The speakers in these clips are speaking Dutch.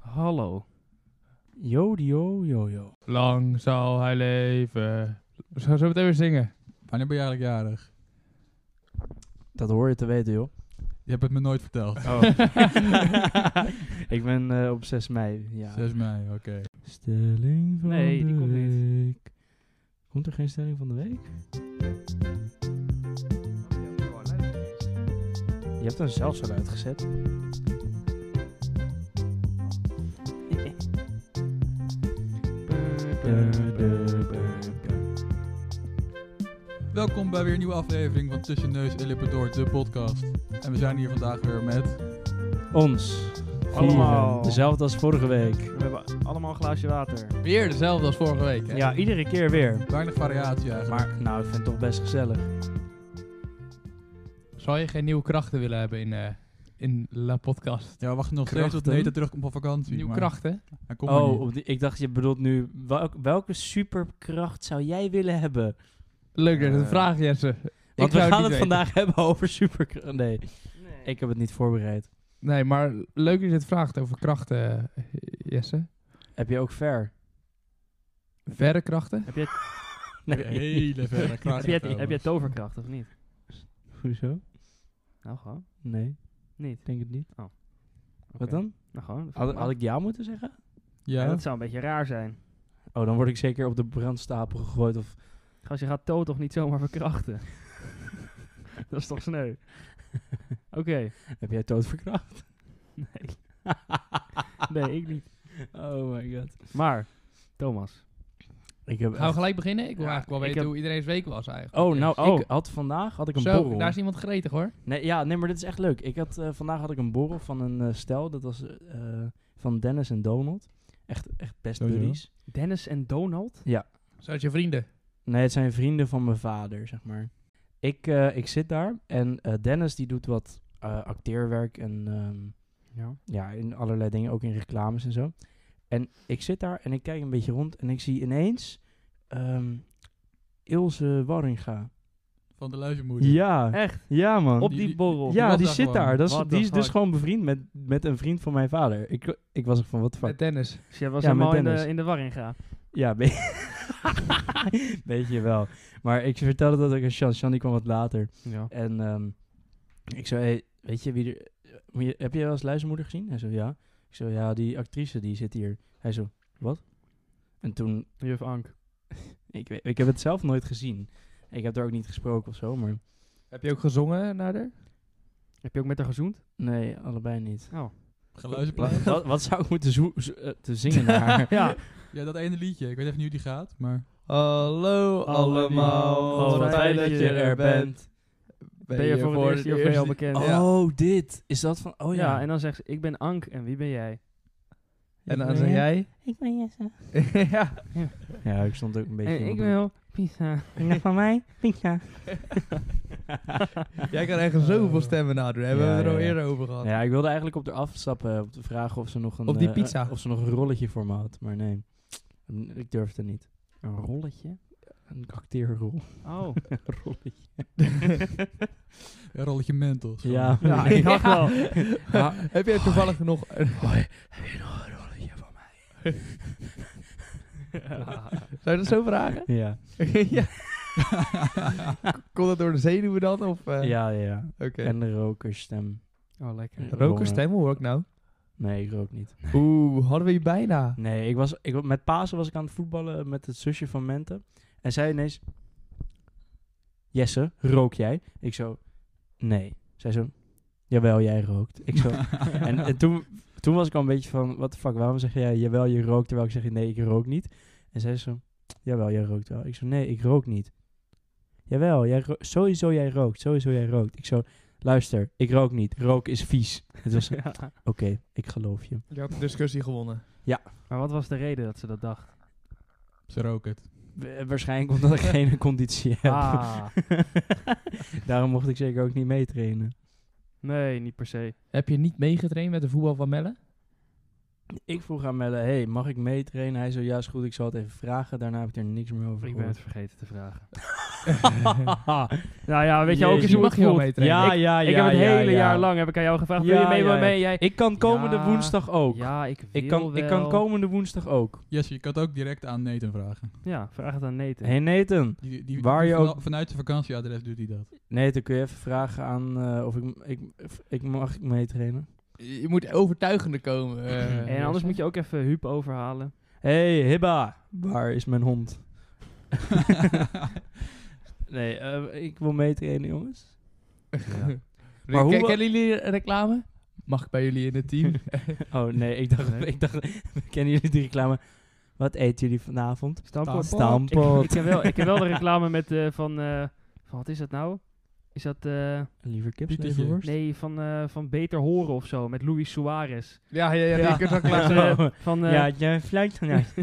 hallo. Jodio, jojo. Lang zal hij leven. We gaan zo meteen weer zingen. Wanneer ben je eigenlijk jarig? Dat hoor je te weten, joh. Je hebt het me nooit verteld. Oh. ik ben eh, op 6 mei. Ja. 6 mei, oké. Stelling van Nee, de die komt week. niet. Komt er geen stelling van de week? Je hebt hem zelf zo uitgezet. Welkom bij weer een nieuwe aflevering van Tussen Neus en Lippen Door, de podcast. En we zijn hier vandaag weer met... Ons. Allemaal. Vieren. Dezelfde als vorige week. We hebben allemaal een glaasje water. Weer dezelfde als vorige week, hè? Ja, iedere keer weer. Weinig variatie eigenlijk. Maar nou, ik vind het toch best gezellig. Zou je geen nieuwe krachten willen hebben in, eh, in La Podcast? Ja, we wachten nog steeds tot Krachten? Neta terugkomt van vakantie. Nieuwe maar krachten? Hij komt oh, er niet. op die- ik dacht, je bedoelt nu, welk- welke superkracht zou jij willen hebben? Leuk dat je Eh, het vraagt, Jesse. Want we zou het gaan niet het weten. vandaag hebben over superkracht. Nee, Nee. ik heb het niet voorbereid. Nee, maar leuk dat je het vraagt over krachten, eh, Jesse. Heb je ook ver? Verre krachten? Heb jij, Nee. Hele verre heb, jij, krachten. heb jij toverkracht of niet? Hoezo? Nou gewoon. Nee, Niet. denk het niet. Wat Oh, Oké. dan? Nou gewoon. Had, had ik ja moeten zeggen? ja. Ja, dat zou een beetje raar zijn. Oh, dan word ik zeker op de brandstapel gegooid. Of Als je gaat To toch niet zomaar verkrachten. dat is toch sneu. Oké. heb jij doodverkracht? Nee. nee, ik niet. Oh my god. Maar, Thomas. Ik heb Gaan we echt- gelijk beginnen? Ik wil Ja, eigenlijk wel ik weten heb- hoe iedereen's week was eigenlijk. Oh, nou, Oh. ik had vandaag had ik een Zo, borrel. daar is iemand gretig hoor. Nee, ja, nee, maar dit is echt leuk. Ik had, eh, vandaag had ik een borrel van een eh, stel. Dat was eh, eh, van Dennis en Donald. Echt, echt best Sowieso. buddies. Dennis en Donald? Zoals je vrienden. Nee, het zijn vrienden van mijn vader, zeg maar. Ik, eh, ik zit daar en eh, Dennis die doet wat eh, acteerwerk en ehm, Ja. ja, in allerlei dingen, ook in reclames en zo. En ik zit daar en ik kijk een beetje rond en ik zie ineens ehm, Ilse Warringa. van de luizenmoeder. Ja, Echt? ja man. Op Die- die die- borrel? ja, was die daar zit gewoon. daar. Dat is, What die the is dus fuck? gewoon bevriend met, met een vriend van mijn vader. Ik, ik was echt van, wat fuck. Met Dennis. Dus jij was Ja, met helemaal in de, Dennis. in de war ingaan. Ja, be- weet je wel. Maar ik vertelde dat ik een Sjan, Sjan die kwam wat later. Ja. En ehm, ik zei, hey, weet je wie er... moet je- Heb je wel eens luizenmoeder gezien? Hij zo, ja. Ik zo, ja, die actrice die zit hier. Hij zo, wat? En toen, Juf Ank. ik, weet- ik heb het zelf nooit gezien. Ik heb daar ook niet gesproken of zo, maar... Heb je ook gezongen naar haar? Heb je ook met haar gezoend? Nee, allebei niet. Oh. Geluizenplaat. wat, wat zou ik moeten zo- zo- eh, te zingen naar haar? Ja. Ja, dat ene liedje. Ik weet even niet hoe die gaat, maar... Hallo allemaal, Oh, wat fijn dat je er bent. Ben, je voor het eerst hier of ben je al bekend? Ja. Oh, dit. Is dat van... Oh ja. ja. en dan zegt ze, ik ben Ank en wie ben jij? En dan zeg jij? Ik ben Jesse. ja. Ja, ik stond ook een beetje... En in ik mijn wil pizza. broek. Ja, van mij, Pika. Jij kan echt zoveel stemmen nadoen. Daar hebben Ja, we het er al ja, ja. eerder over gehad. Ja, ik wilde eigenlijk op haar afstappen op de vraag of ze nog een... Op die eh, pizza. eh, of ze nog een rolletje voor me had, maar nee. Mm, Ik durfde niet. Een rolletje? Een acteerrol. Oh. rolletje. Een rolletje mentos. Ja, Ja, ik dacht wel. Ah, Heb jij toevallig nog... Zou je dat zo vragen? ja. ja. Komt dat door de zenuwen dan? Of, eh, Ja, ja, ja. Oké. En de rokerstem. Oh, lekker. Rokerstem hoor ik nou. Nee, ik rook niet. Oeh, hadden we je bijna. Nee, ik was, ik, wa- met Pasen was ik aan het voetballen met het zusje van Mente. En zij ineens... Jesse, rook jij? Ik zo... Nee. Zij zo... Jawel, jij rookt. Ik zo... En, en toen, toen was ik al een beetje van, wat de fuck, waarom zeg jij jawel, je rookt, terwijl ik zeg nee, ik rook niet. En zij zo, jawel, jij rookt wel. Ik zo, nee, ik rook niet. Jawel, jij ro- sowieso jij rookt, sowieso jij rookt. Ik zo, luister, ik rook niet, rook is vies. Het was, oké, Ja. ik geloof je. Je had de discussie gewonnen. Maar wat was de reden dat ze dat dacht? Ze roken het. Wa- Eh, Waarschijnlijk omdat ik geen conditie heb. Ah. Daarom mocht ik zeker ook niet meetrainen. Nee, niet per se. Heb je niet meegetraind met de voetbal van Melle? Ik vroeg aan Melle, hey, mag ik meetrainen? Hij zo, ja, is goed, ik zal het even vragen. Daarna heb ik er niks meer over Ik ben het gehoord. vergeten te vragen. nou ja, weet je ook eens Jezus. hoe het Mag je wel voelt? meetrekken? Ja, Ik- ja, ja. ik heb het ja, hele ja. jaar lang heb ik aan jou gevraagd, wil Ja, je mee, ja, wil je ja. mee? Jij, Ik kan komende Ja. woensdag ook. ja, ik wil ik, kan, ik wel. kan komende woensdag ook. Jesse, je kan het ook direct aan Nathan vragen. Ja, vraag het aan Nathan. Hey Nathan. Die, die, Waar die je vana- ook- Vanuit zijn vakantieadres doet hij dat. Nathan, kun je even vragen aan eh, of ik, ik, ik mag ik meetrainen? Je moet overtuigender komen. eh, en anders moet je ook even Huub overhalen. Hé, hey, Hibba. Waar is mijn hond? nee, eh, ik wil meetrainen, jongens. Maar hoe Ken- we- Kennen jullie reclame? Mag ik bij jullie in het team? Oh nee, ik dacht, Nee. ik dacht kennen jullie die reclame? Wat eten jullie vanavond? Stamppot. Stamppot. Ik, ik, ken wel, ik ken wel de reclame met eh, van, eh, van... Wat is dat nou? Is dat... eh, Liever Pietertje. kipsleverworst? nee, van, eh, van Beter Horen of zo. Met Luis Suarez. ja, ja, ja. Ik Van, klaar. eh, van eh, ja, jij fluit vandaag.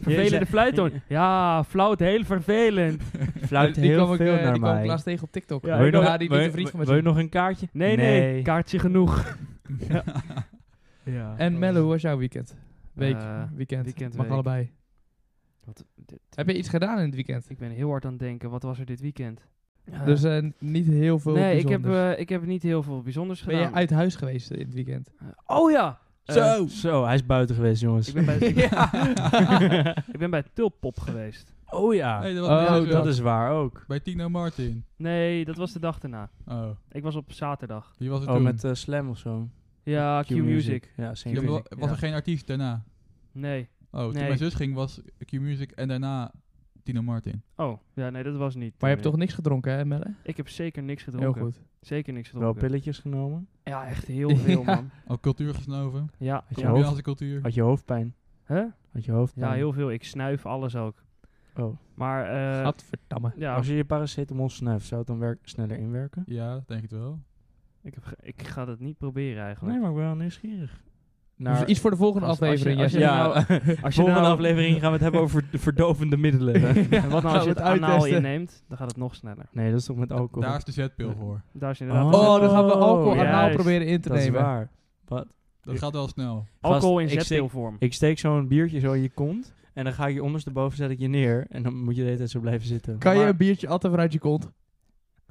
vervelende fluittoon. Ja, flauwt heel vervelend. fluit heel veel eh, naar Nou, die kwam mij. ik laatst tegen op TikTok. Ja, Ja, wil, je nog, die wil, lieve je- vriend van mij. wil je nog een kaartje? Nee, nee, kaartje genoeg. ja. ja. En Mello, hoe was jouw weekend? Week, Eh, weekend. weekend, Mag week. allebei. Wat- dit- Heb je iets gedaan in het weekend? Ik ben heel hard aan het denken. Wat was er dit weekend? Ja. Dus eh, niet heel veel nee, ik heb, bijzonders. eh, ik heb niet heel veel bijzonders ben je gedaan. uit huis geweest eh, in het weekend? Oh ja! Eh, Zo. Zo, hij is buiten geweest, jongens. ik, ben bij, ik, ben, ik ben bij Tulpop geweest. oh ja, Hey, dat was Oh, bij jou dat zo. is waar ook. Bij Tino Martin. Nee, dat was de dag daarna. Oh, Ik was op zaterdag. wie was het Oh, toen? met eh, Slam of zo. Ja, Q-Music. Ja, Ja, same maar wa- music. was er geen artiest daarna? Nee. Oh, toen Nee. mijn zus ging was Q-Music en daarna Tino Martin. Oh, ja, nee, dat was niet. eh, Maar je hebt Nee. toch niks gedronken, hè, Melle? Ik heb zeker niks gedronken. Heel goed. Zeker niks Wel gedronken. pilletjes genomen. ja, echt heel veel, Ja. man. Al cultuur gesnoven. Ja. Had je ja. hoofd- Colombiaanse cultuur. Had je hoofdpijn? Hè? Had je hoofdpijn? Ja, heel veel. Ik snuif alles ook. Oh. Maar, eh, Gadverdamme. ja, Als je je paracetamol snuift, zou het dan werk sneller inwerken? Ja, denk het wel. ik, heb ge- ik ga dat niet proberen eigenlijk. Nee, maar ik ben wel nieuwsgierig. Nou, Dus iets voor de volgende Als- als je- aflevering. als je Jesse. nou- als je volgende nou- aflevering gaan we het hebben over verd- verdovende middelen. En wat nou als Gaan je we het het anaal uittesten? inneemt, dan gaat het nog sneller. nee, dat is toch met alcohol? Daar is de zetpil voor. Daar is inderdaad... Oh, Oh, dan gaan we alcohol Oh, anaal juist. proberen in te dat is nemen. waar. Wat? Dat gaat wel snel. Alcohol in Gast, ik zetdeelvorm. Ik steek zo'n biertje zo in je kont en dan ga ik je ondersteboven zet ik je neer en dan moet je de hele tijd zo blijven zitten. Kan je Maar- een biertje altijd vanuit je kont?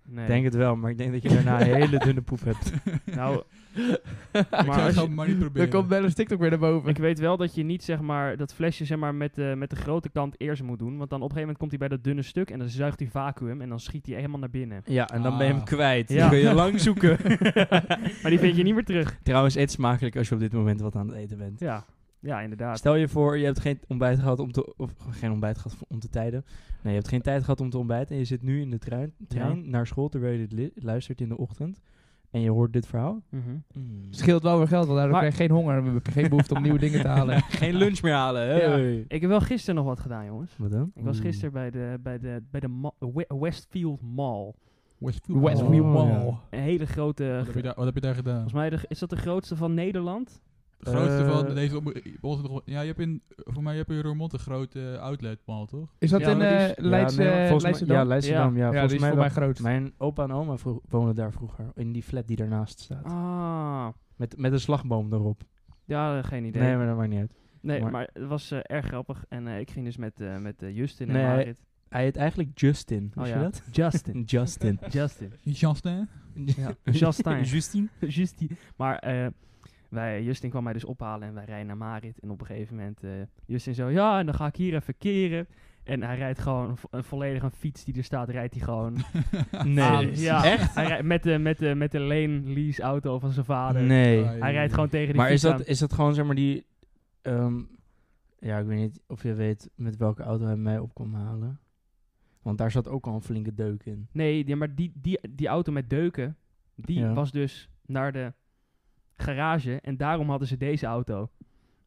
Nee. Ik denk het wel, maar ik denk dat je daarna een hele dunne poep hebt. Nou, Ik maar zou als het je- gewoon maar niet Dan proberen. komt Mello's TikTok weer naar boven. ik weet wel dat je niet zeg maar, dat flesje zeg maar, met, eh, met de grote kant eerst moet doen. Want dan op een gegeven moment komt hij bij dat dunne stuk en dan zuigt hij vacuüm en dan schiet hij helemaal naar binnen. Ja, en dan ben je hem Ah. kwijt. Ja. Dan kun je lang zoeken. Maar die vind je niet meer terug. Trouwens, eet smakelijk als je op dit moment wat aan het eten bent. Ja, ja inderdaad. Stel je voor, je hebt geen ontbijt gehad om te... Of geen ontbijt gehad om te tijden. Nee, je hebt geen tijd gehad om te ontbijten. En je zit nu in de trein, trein naar school terwijl je dit li- luistert in de ochtend. En je hoort dit verhaal. Mhm. Scheelt wel weer geld, want daardoor Maar- krijg je geen honger. en We hebben geen behoefte om nieuwe dingen te halen. geen lunch meer halen. hey. Ik heb wel gisteren nog wat gedaan, jongens. Wat dan? Ik was Oeh. gisteren bij de, bij de, bij de ma- We- Westfield Mall. Westfield. Westfield Oh, ja. Mall. Een hele grote... Wat heb, je daar, wat heb je daar gedaan? Volgens mij de- is dat de grootste van Nederland. De grootste Eh, van deze... omroep- onze nog- Ja, je hebt in... Voor mij heb je in Roermond een grote eh, outlet mall, toch? Is dat Ja, in maar die is- eh Leidse, ja, nee, volgens mij- Leidschendam? Ja, Leidschendam, ja. Ja, volgens die is mij voor mij wel. groot. Mijn opa en oma vro- woonden daar vroeger. In die flat die daarnaast staat. Ah, Met, met een slagboom erop. ja, geen idee. Nee, maar dat maakt niet uit. Nee, maar, Maar- het was eh, erg grappig. En eh, ik ging dus met, eh, met eh, Justin Nee, en hij- Marit. Hij heet eigenlijk Justin. Wist Oh je ja, dat? Justin. Justin. Justin. Niet Justin? Ja, Justin. Justin. Justin. Maar eh, wij, Justin kwam mij dus ophalen en wij rijden naar Marit. En op een gegeven moment, eh, Justin zo, ja, en dan ga ik hier even keren. En hij rijdt gewoon vo- een volledig een fiets die er staat, rijdt hij gewoon aan. Ah, Nee. Ja, Echt? Hij rijdt met, de, met, de, met de lane lease auto van zijn vader. Nee. Ah, Hij rijdt gewoon tegen die Maar is fiets dat, is dat gewoon zeg maar die... ehm, ja, ik weet niet of je weet met welke auto hij mij op kon halen. Want daar zat ook al een flinke deuk in. Nee, ja, maar die, die, die auto met deuken, die Ja. was dus naar de garage en daarom hadden ze deze auto.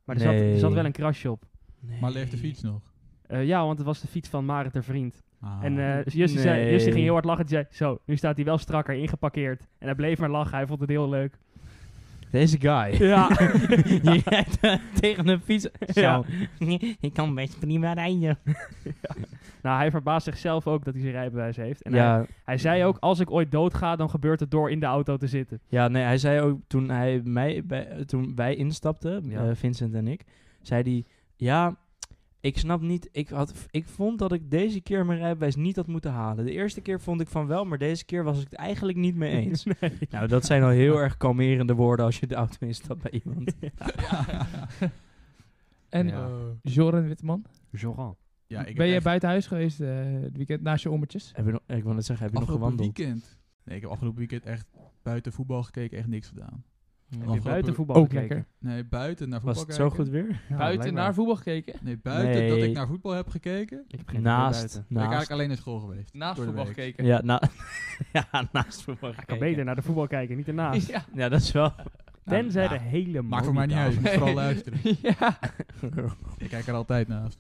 Maar er, zat, er Nee. zat wel een crash op. Maar leeft de fiets nog? Eh, ja, want het was de fiets van Marit ter vriend. Ah. en eh Justin, zei, Nee. Justin ging heel hard lachen. Die zei, zo, nu staat hij wel strakker ingeparkeerd. En hij bleef maar lachen. Hij vond het heel leuk. Deze guy. Ja. je rijdt eh, tegen een fiets. Ja. Zo. ik kan best prima rijden. nou, hij verbaast zichzelf ook dat hij zijn rijbewijs heeft. En hij, Ja, hij zei ook, als ik ooit doodga, dan gebeurt het door in de auto te zitten. ja, nee, hij zei ook toen, hij mij bij, toen wij instapten, Ja. eh, Vincent en ik, zei hij, ja, Ik snap niet, ik, had, ik vond dat ik deze keer mijn rijbewijs niet had moeten halen. De eerste keer vond ik van wel, maar deze keer was ik het eigenlijk niet mee eens. Nee. Nou, dat zijn al heel erg kalmerende woorden als je de auto instapt bij iemand. En Ja. Eh, Joren Witteman, Joran. ja, ik ben heb je echt buiten huis geweest eh, het weekend naast je ommetjes? Heb je nog, ik wil net zeggen, heb je nog afgelopen gewandeld? weekend. Nee, ik heb afgelopen weekend echt buiten voetbal gekeken, echt niks gedaan. Heb je grappig. buiten voetbal Ook gekeken? lekker. Nee, buiten naar Was voetbal het zo kijken. goed weer? Ja, Buiten blijkbaar. naar voetbal gekeken? Nee, buiten dat Nee. ik naar voetbal heb gekeken. Ik heb geen idee Naast, buiten. Ben ik naast. eigenlijk alleen naar school geweest. Naast Door de voetbal week. gekeken. Ja, na, ja, naast voetbal Ik kan gekeken. beter naar de voetbal kijken, niet ernaast. Ja. Ja, dat is wel... Tenzij ja. de hele Maakt voor mij niet uit, monitor- je moet vooral luisteren. ja. Ik kijk er altijd naast.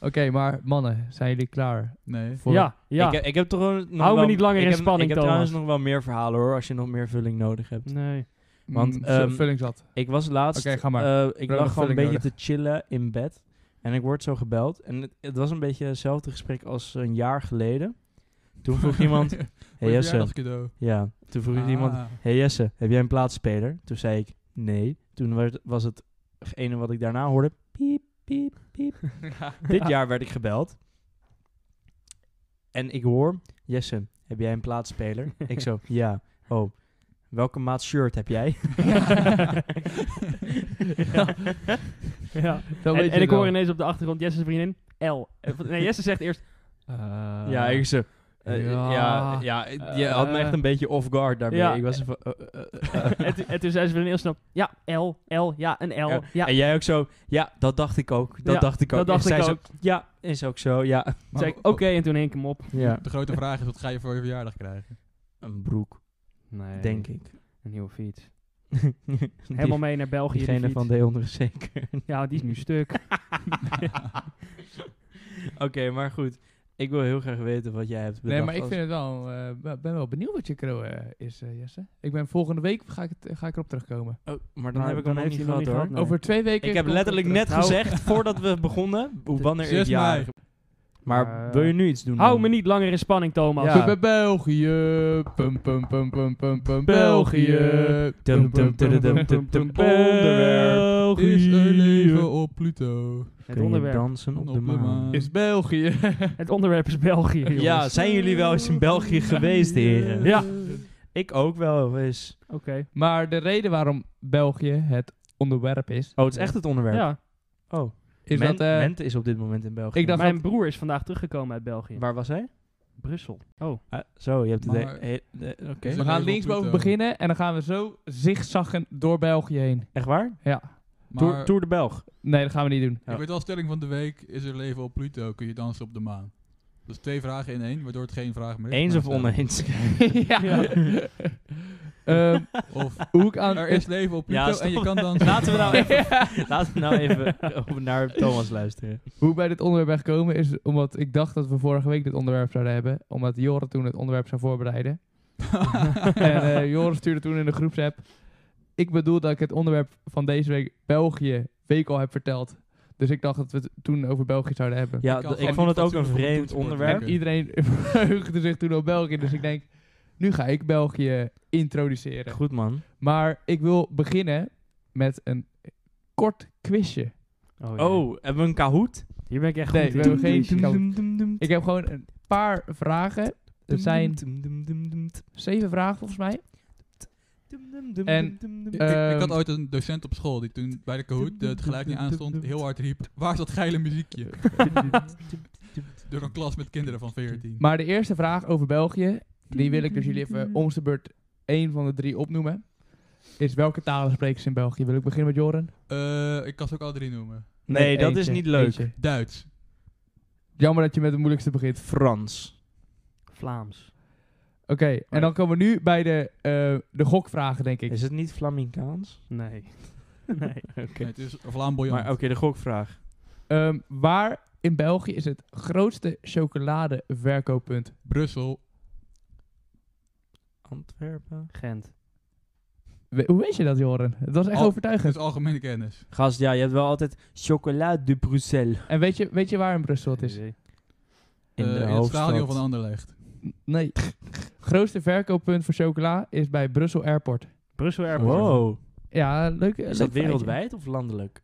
Oké, maar mannen, zijn jullie klaar? Nee. voor- Ja, ja. Ik, heb- ik heb toch wel nog Hou me wel- niet langer ik in heb- spanning, Ik heb trouwens Thomas. nog wel meer verhalen hoor, als je nog meer vulling nodig hebt. nee. Want, Mm, ehm, vulling zat. Ik was laatst. Oké, ga maar. eh, nog ik lag gewoon een vulling beetje te chillen in bed. En ik word zo gebeld. En het, het was een beetje hetzelfde gesprek als een jaar geleden. Toen vroeg iemand. Hey Voor je Jesse. verjaardagscadeau. Ja, toen vroeg iemand. Ah. Hey Jesse, heb jij een plaatspeler? Toen zei ik nee. Toen werd, was het ene wat ik daarna hoorde. Piep, piep, piep. Dit jaar werd ik gebeld. En ik hoor, Jesse, heb jij een plaatspeler? ik zo, ja. Oh, welke maat shirt heb jij? ja. ja. Dan En, weet je en ik het hoor wel. ineens op de achtergrond Jesse's vriendin L. Eh, Nee, Jesse zegt eerst. eh, ja, ik zo... eh, ja. ja, ja, je had me echt een beetje off guard daarmee. ja. ik was even, eh, eh, eh, eh. en, toen- en toen zei ze weer heel snel: Ja, L, L, ja, een L. Ja, En jij ook zo, ja, dat dacht ik ook. Dat Ja, dacht ik ook. dat dacht En zij ik zo, ook. ja, is ook zo, ja. Toen Maar zei ik: Oké, en toen hing ik hem op. ja. De grote vraag is, wat ga je voor je verjaardag krijgen? Een broek, Nee, denk ik. Een nieuwe fiets. Die- Helemaal mee naar België. die diegene fiets. van de onder is zeker. Ja, want die is nu stuk. Oké, maar goed. Ik wil heel graag weten wat jij hebt bedacht. Nee, maar ik als- vind het wel, eh, ben- ben wel benieuwd wat je crew eh, is, eh, Jesse. Ik ben volgende week ga ik, het, eh, ga ik erop terugkomen. Oh, maar dan Maar heb ik hem nog heeft niet hij nog gehad niet hoor. Nou, gehad, nee. Over twee weken... Ik heb komt letterlijk het net terug. gezegd, voordat we begonnen, hoe- wanneer ik 6 jaar. mei. Maar eh, Maar, wil je nu iets doen? Hou dan? me niet langer in spanning, Thomas. Ja. Be- be- België, pum pum pum pum pum pum, België. België. Dum, dum, dum, dum, dum, dum. Onderwerp. Is er leven op Pluto? Het, Kun je onderwerp, dansen op Op de maan? Is België. het onderwerp is België. Jongens. Ja, zijn jullie wel eens in België geweest, heren? Ja. Ik ook wel eens. Oké. maar de reden waarom België het onderwerp is... Oh, het is echt het onderwerp. Ja. Oh, Is Men- dat, eh, Mente is op dit moment in België. Ik dacht- Mijn broer is vandaag teruggekomen uit België. Waar was hij? Brussel. Oh. Ah, zo, je hebt het... Maar- he- he- Oké. Is we er gaan leven op linksboven Pluto? beginnen en dan gaan we zo zigzaggen door België heen. Echt waar? Ja. Tour, Maar Tour de Belg. Nee, dat gaan we niet doen. Ja. ik weet wel stelling van de week, is er leven op Pluto? Kun je dansen op de maan? Dus twee vragen in één, waardoor het geen vraag meer is. Eens maar eh, of een oneens? stelling. ja. Ehm, Of hoe ik aan... er is leven op Pluto Ja, stop. en je kan dansen. Laten we nou even. even, laten we nou even op- naar Thomas luisteren. Hoe ik bij dit onderwerp ben gekomen is omdat ik dacht dat we vorige week dit onderwerp zouden hebben. Omdat Joren toen het onderwerp zou voorbereiden. en eh Joren stuurde toen in de groepsapp. Ik bedoel dat ik het onderwerp van deze week, België, week al heb verteld. Dus ik dacht dat we het toen over België zouden hebben. Ja, d- kan ik gewoon vond niet het ook een fatsoenlijk op een vreemd toetsenbord onderwerp. En iedereen verheugde zich toen op België. Dus ik denk, nu ga ik België introduceren. Goed man. Maar ik wil beginnen met een kort quizje. Oh, jee. Oh, hebben we een Kahoot? Hier ben ik echt Nee, goed in. we hebben geen Dum, Kahoot. dum, dum, dum, Ik heb gewoon een paar vragen. Er zijn dum, dum, dum, dum, dum, zeven vragen volgens mij. dum, dum, dum, En, dum, dum, Ik, dum. ik- ik Ehm. had ooit een docent op school die toen bij de Kahoot eh, het gelijk niet aanstond, heel hard riep, waar is dat geile muziekje? Door een klas met kinderen van 14. Maar de eerste vraag over België, die wil ik dus jullie even om de beurt één van de drie opnoemen. Is welke talen spreken ze in België? Wil ik beginnen met Joren? Eh, ik kan ze ook alle drie noemen. Nee, dat is eentje, niet leuk. eentje. Duits. Jammer dat je met de moeilijkste begint. Frans. Vlaams. Oké, en dan komen we nu bij de, eh de gokvragen, denk ik. Is het niet Flaminkaans? Nee. nee. Oké. Nee, het is Vlaamboyant. Maar oké, de gokvraag. Ehm, waar in België is het grootste chocoladeverkooppunt? Brussel. Antwerpen. Gent. We- hoe weet je dat, Joren? Het was echt Al- Dat overtuigend. is algemene kennis. Gast, ja, je hebt wel altijd chocolat de Bruxelles. En weet je, weet je waar in Brussel Dus het is? Nee. In Eh, de het hoofdstad. stadion van Anderlecht. Eh, Nee. grootste verkooppunt voor chocola is bij Brussel Airport. Brussel Airport. Wow. Ja, leuk. Is dat wereldwijd of landelijk?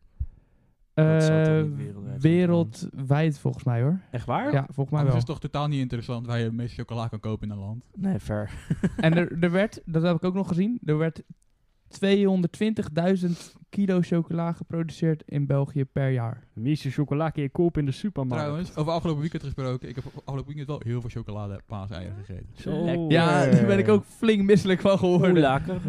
Dat zal toch Eh, niet wereldwijd Oh, zijn? wereldwijd volgens mij hoor. Echt waar? Ja, volgens mij Maar het wel. is toch totaal niet interessant waar je het meeste chocola kan kopen in een land. Nee, ver. En er, er werd, dat heb ik ook nog gezien, er werd 220.000 kilo chocola geproduceerd in België per jaar. Miesje chocola kun je kopen in de supermarkt. Trouwens, over afgelopen weekend gesproken. Ik heb afgelopen weekend wel heel veel chocolade paaseieren gegeten. Zo. Lekker. Ja, daar ben ik ook flink misselijk van geworden. lekker.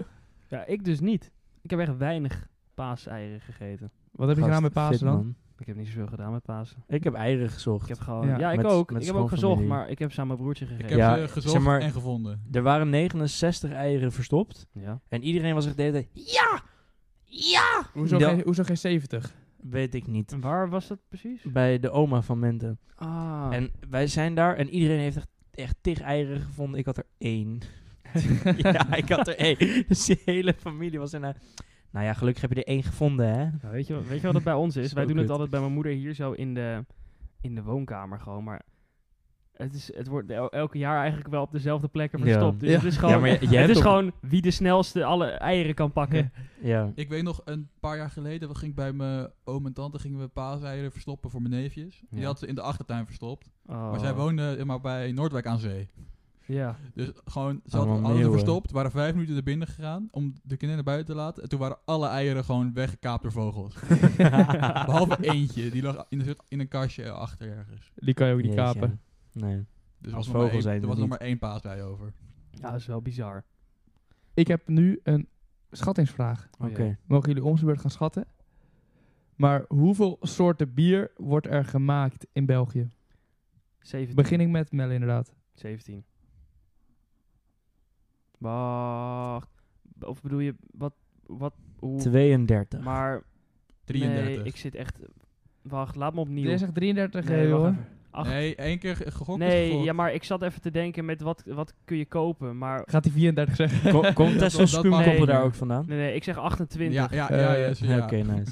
Ja, ik dus niet. Ik heb echt weinig paaseieren gegeten. Wat heb je gedaan met Pasen dan? Ik heb niet zoveel gedaan met Pasen. Ik heb eieren gezocht. Ik heb gewoon... Ja, Ja, ik met- ook. met ik heb ook gezocht, schoonfamilie. maar ik heb ze aan mijn broertje Ik gegeven. heb Ja, ze gezocht zeg maar- en gevonden. Er waren 69 eieren verstopt. Ja. En iedereen was echt de hele tijd, Ja! Ja! Hoezo, Ja. geen, hoezo geen 70? Weet ik niet. En waar was dat precies? Bij de oma van Mente. Ah. En wij zijn daar en iedereen heeft echt, echt tig eieren gevonden. Ik had er één. ja, ik had er één. Dus die hele familie was erna. Nou ja, gelukkig heb je er één gevonden, hè? Ja, weet, je, wat- weet je wat het bij ons is? Zo Wij doen het kut. altijd bij mijn moeder hier zo in de, in de woonkamer gewoon, maar het, is, het wordt el- elke jaar eigenlijk wel op dezelfde plekken Ja. verstopt. Dus Ja. het is gewoon, ja, maar je, je het hebt is toch- gewoon wie de snelste alle eieren kan pakken. Ja. Ik weet nog, een paar jaar geleden we gingen bij mijn oom en tante gingen we paaseieren verstoppen voor mijn neefjes. Die Ja. hadden ze in de achtertuin verstopt. Oh. Maar zij woonden eh, maar bij Noordwijk aan Zee. Ja. Dus gewoon, ze Allemaal hadden alles er meeuwen. verstopt, waren vijf minuten naar binnen gegaan om de kinderen naar buiten te laten. En toen waren alle eieren gewoon weggekaapt door vogels. Behalve eentje, die lag in een, soort- in een kastje achter ergens. Die kan je ook niet Jeetje. kapen. Oh, Nee. Dus Als er was nog maar vogel één- zijn ze er was nog niet. maar één paasbij over. ja, dat is wel bizar. Ik heb nu een schattingsvraag. Oh, Oké. Mogen jullie om zijn beurt gaan schatten? Maar hoeveel soorten bier wordt er gemaakt in België? 17. Begin ik met Mel inderdaad. 17. Wacht. Of bedoel je, wat, wat, hoe? 32. Maar, 33. nee, ik zit echt, wacht, laat me opnieuw. Jij zegt 33 Nee, eh, wacht hoor. even. Acht- Nee, één keer ge- gegokt is Nee, gegokt. ja, maar ik zat even te denken met wat, wat kun je kopen, maar... Gaat hij 34 zeggen? Ko- komt Dat- Tessel dat- Spoon nee. koppel daar ook vandaan? Nee, nee, ik zeg 28. Ja, ja, ja, Eh, yes, ja, Ja, Oké, nice.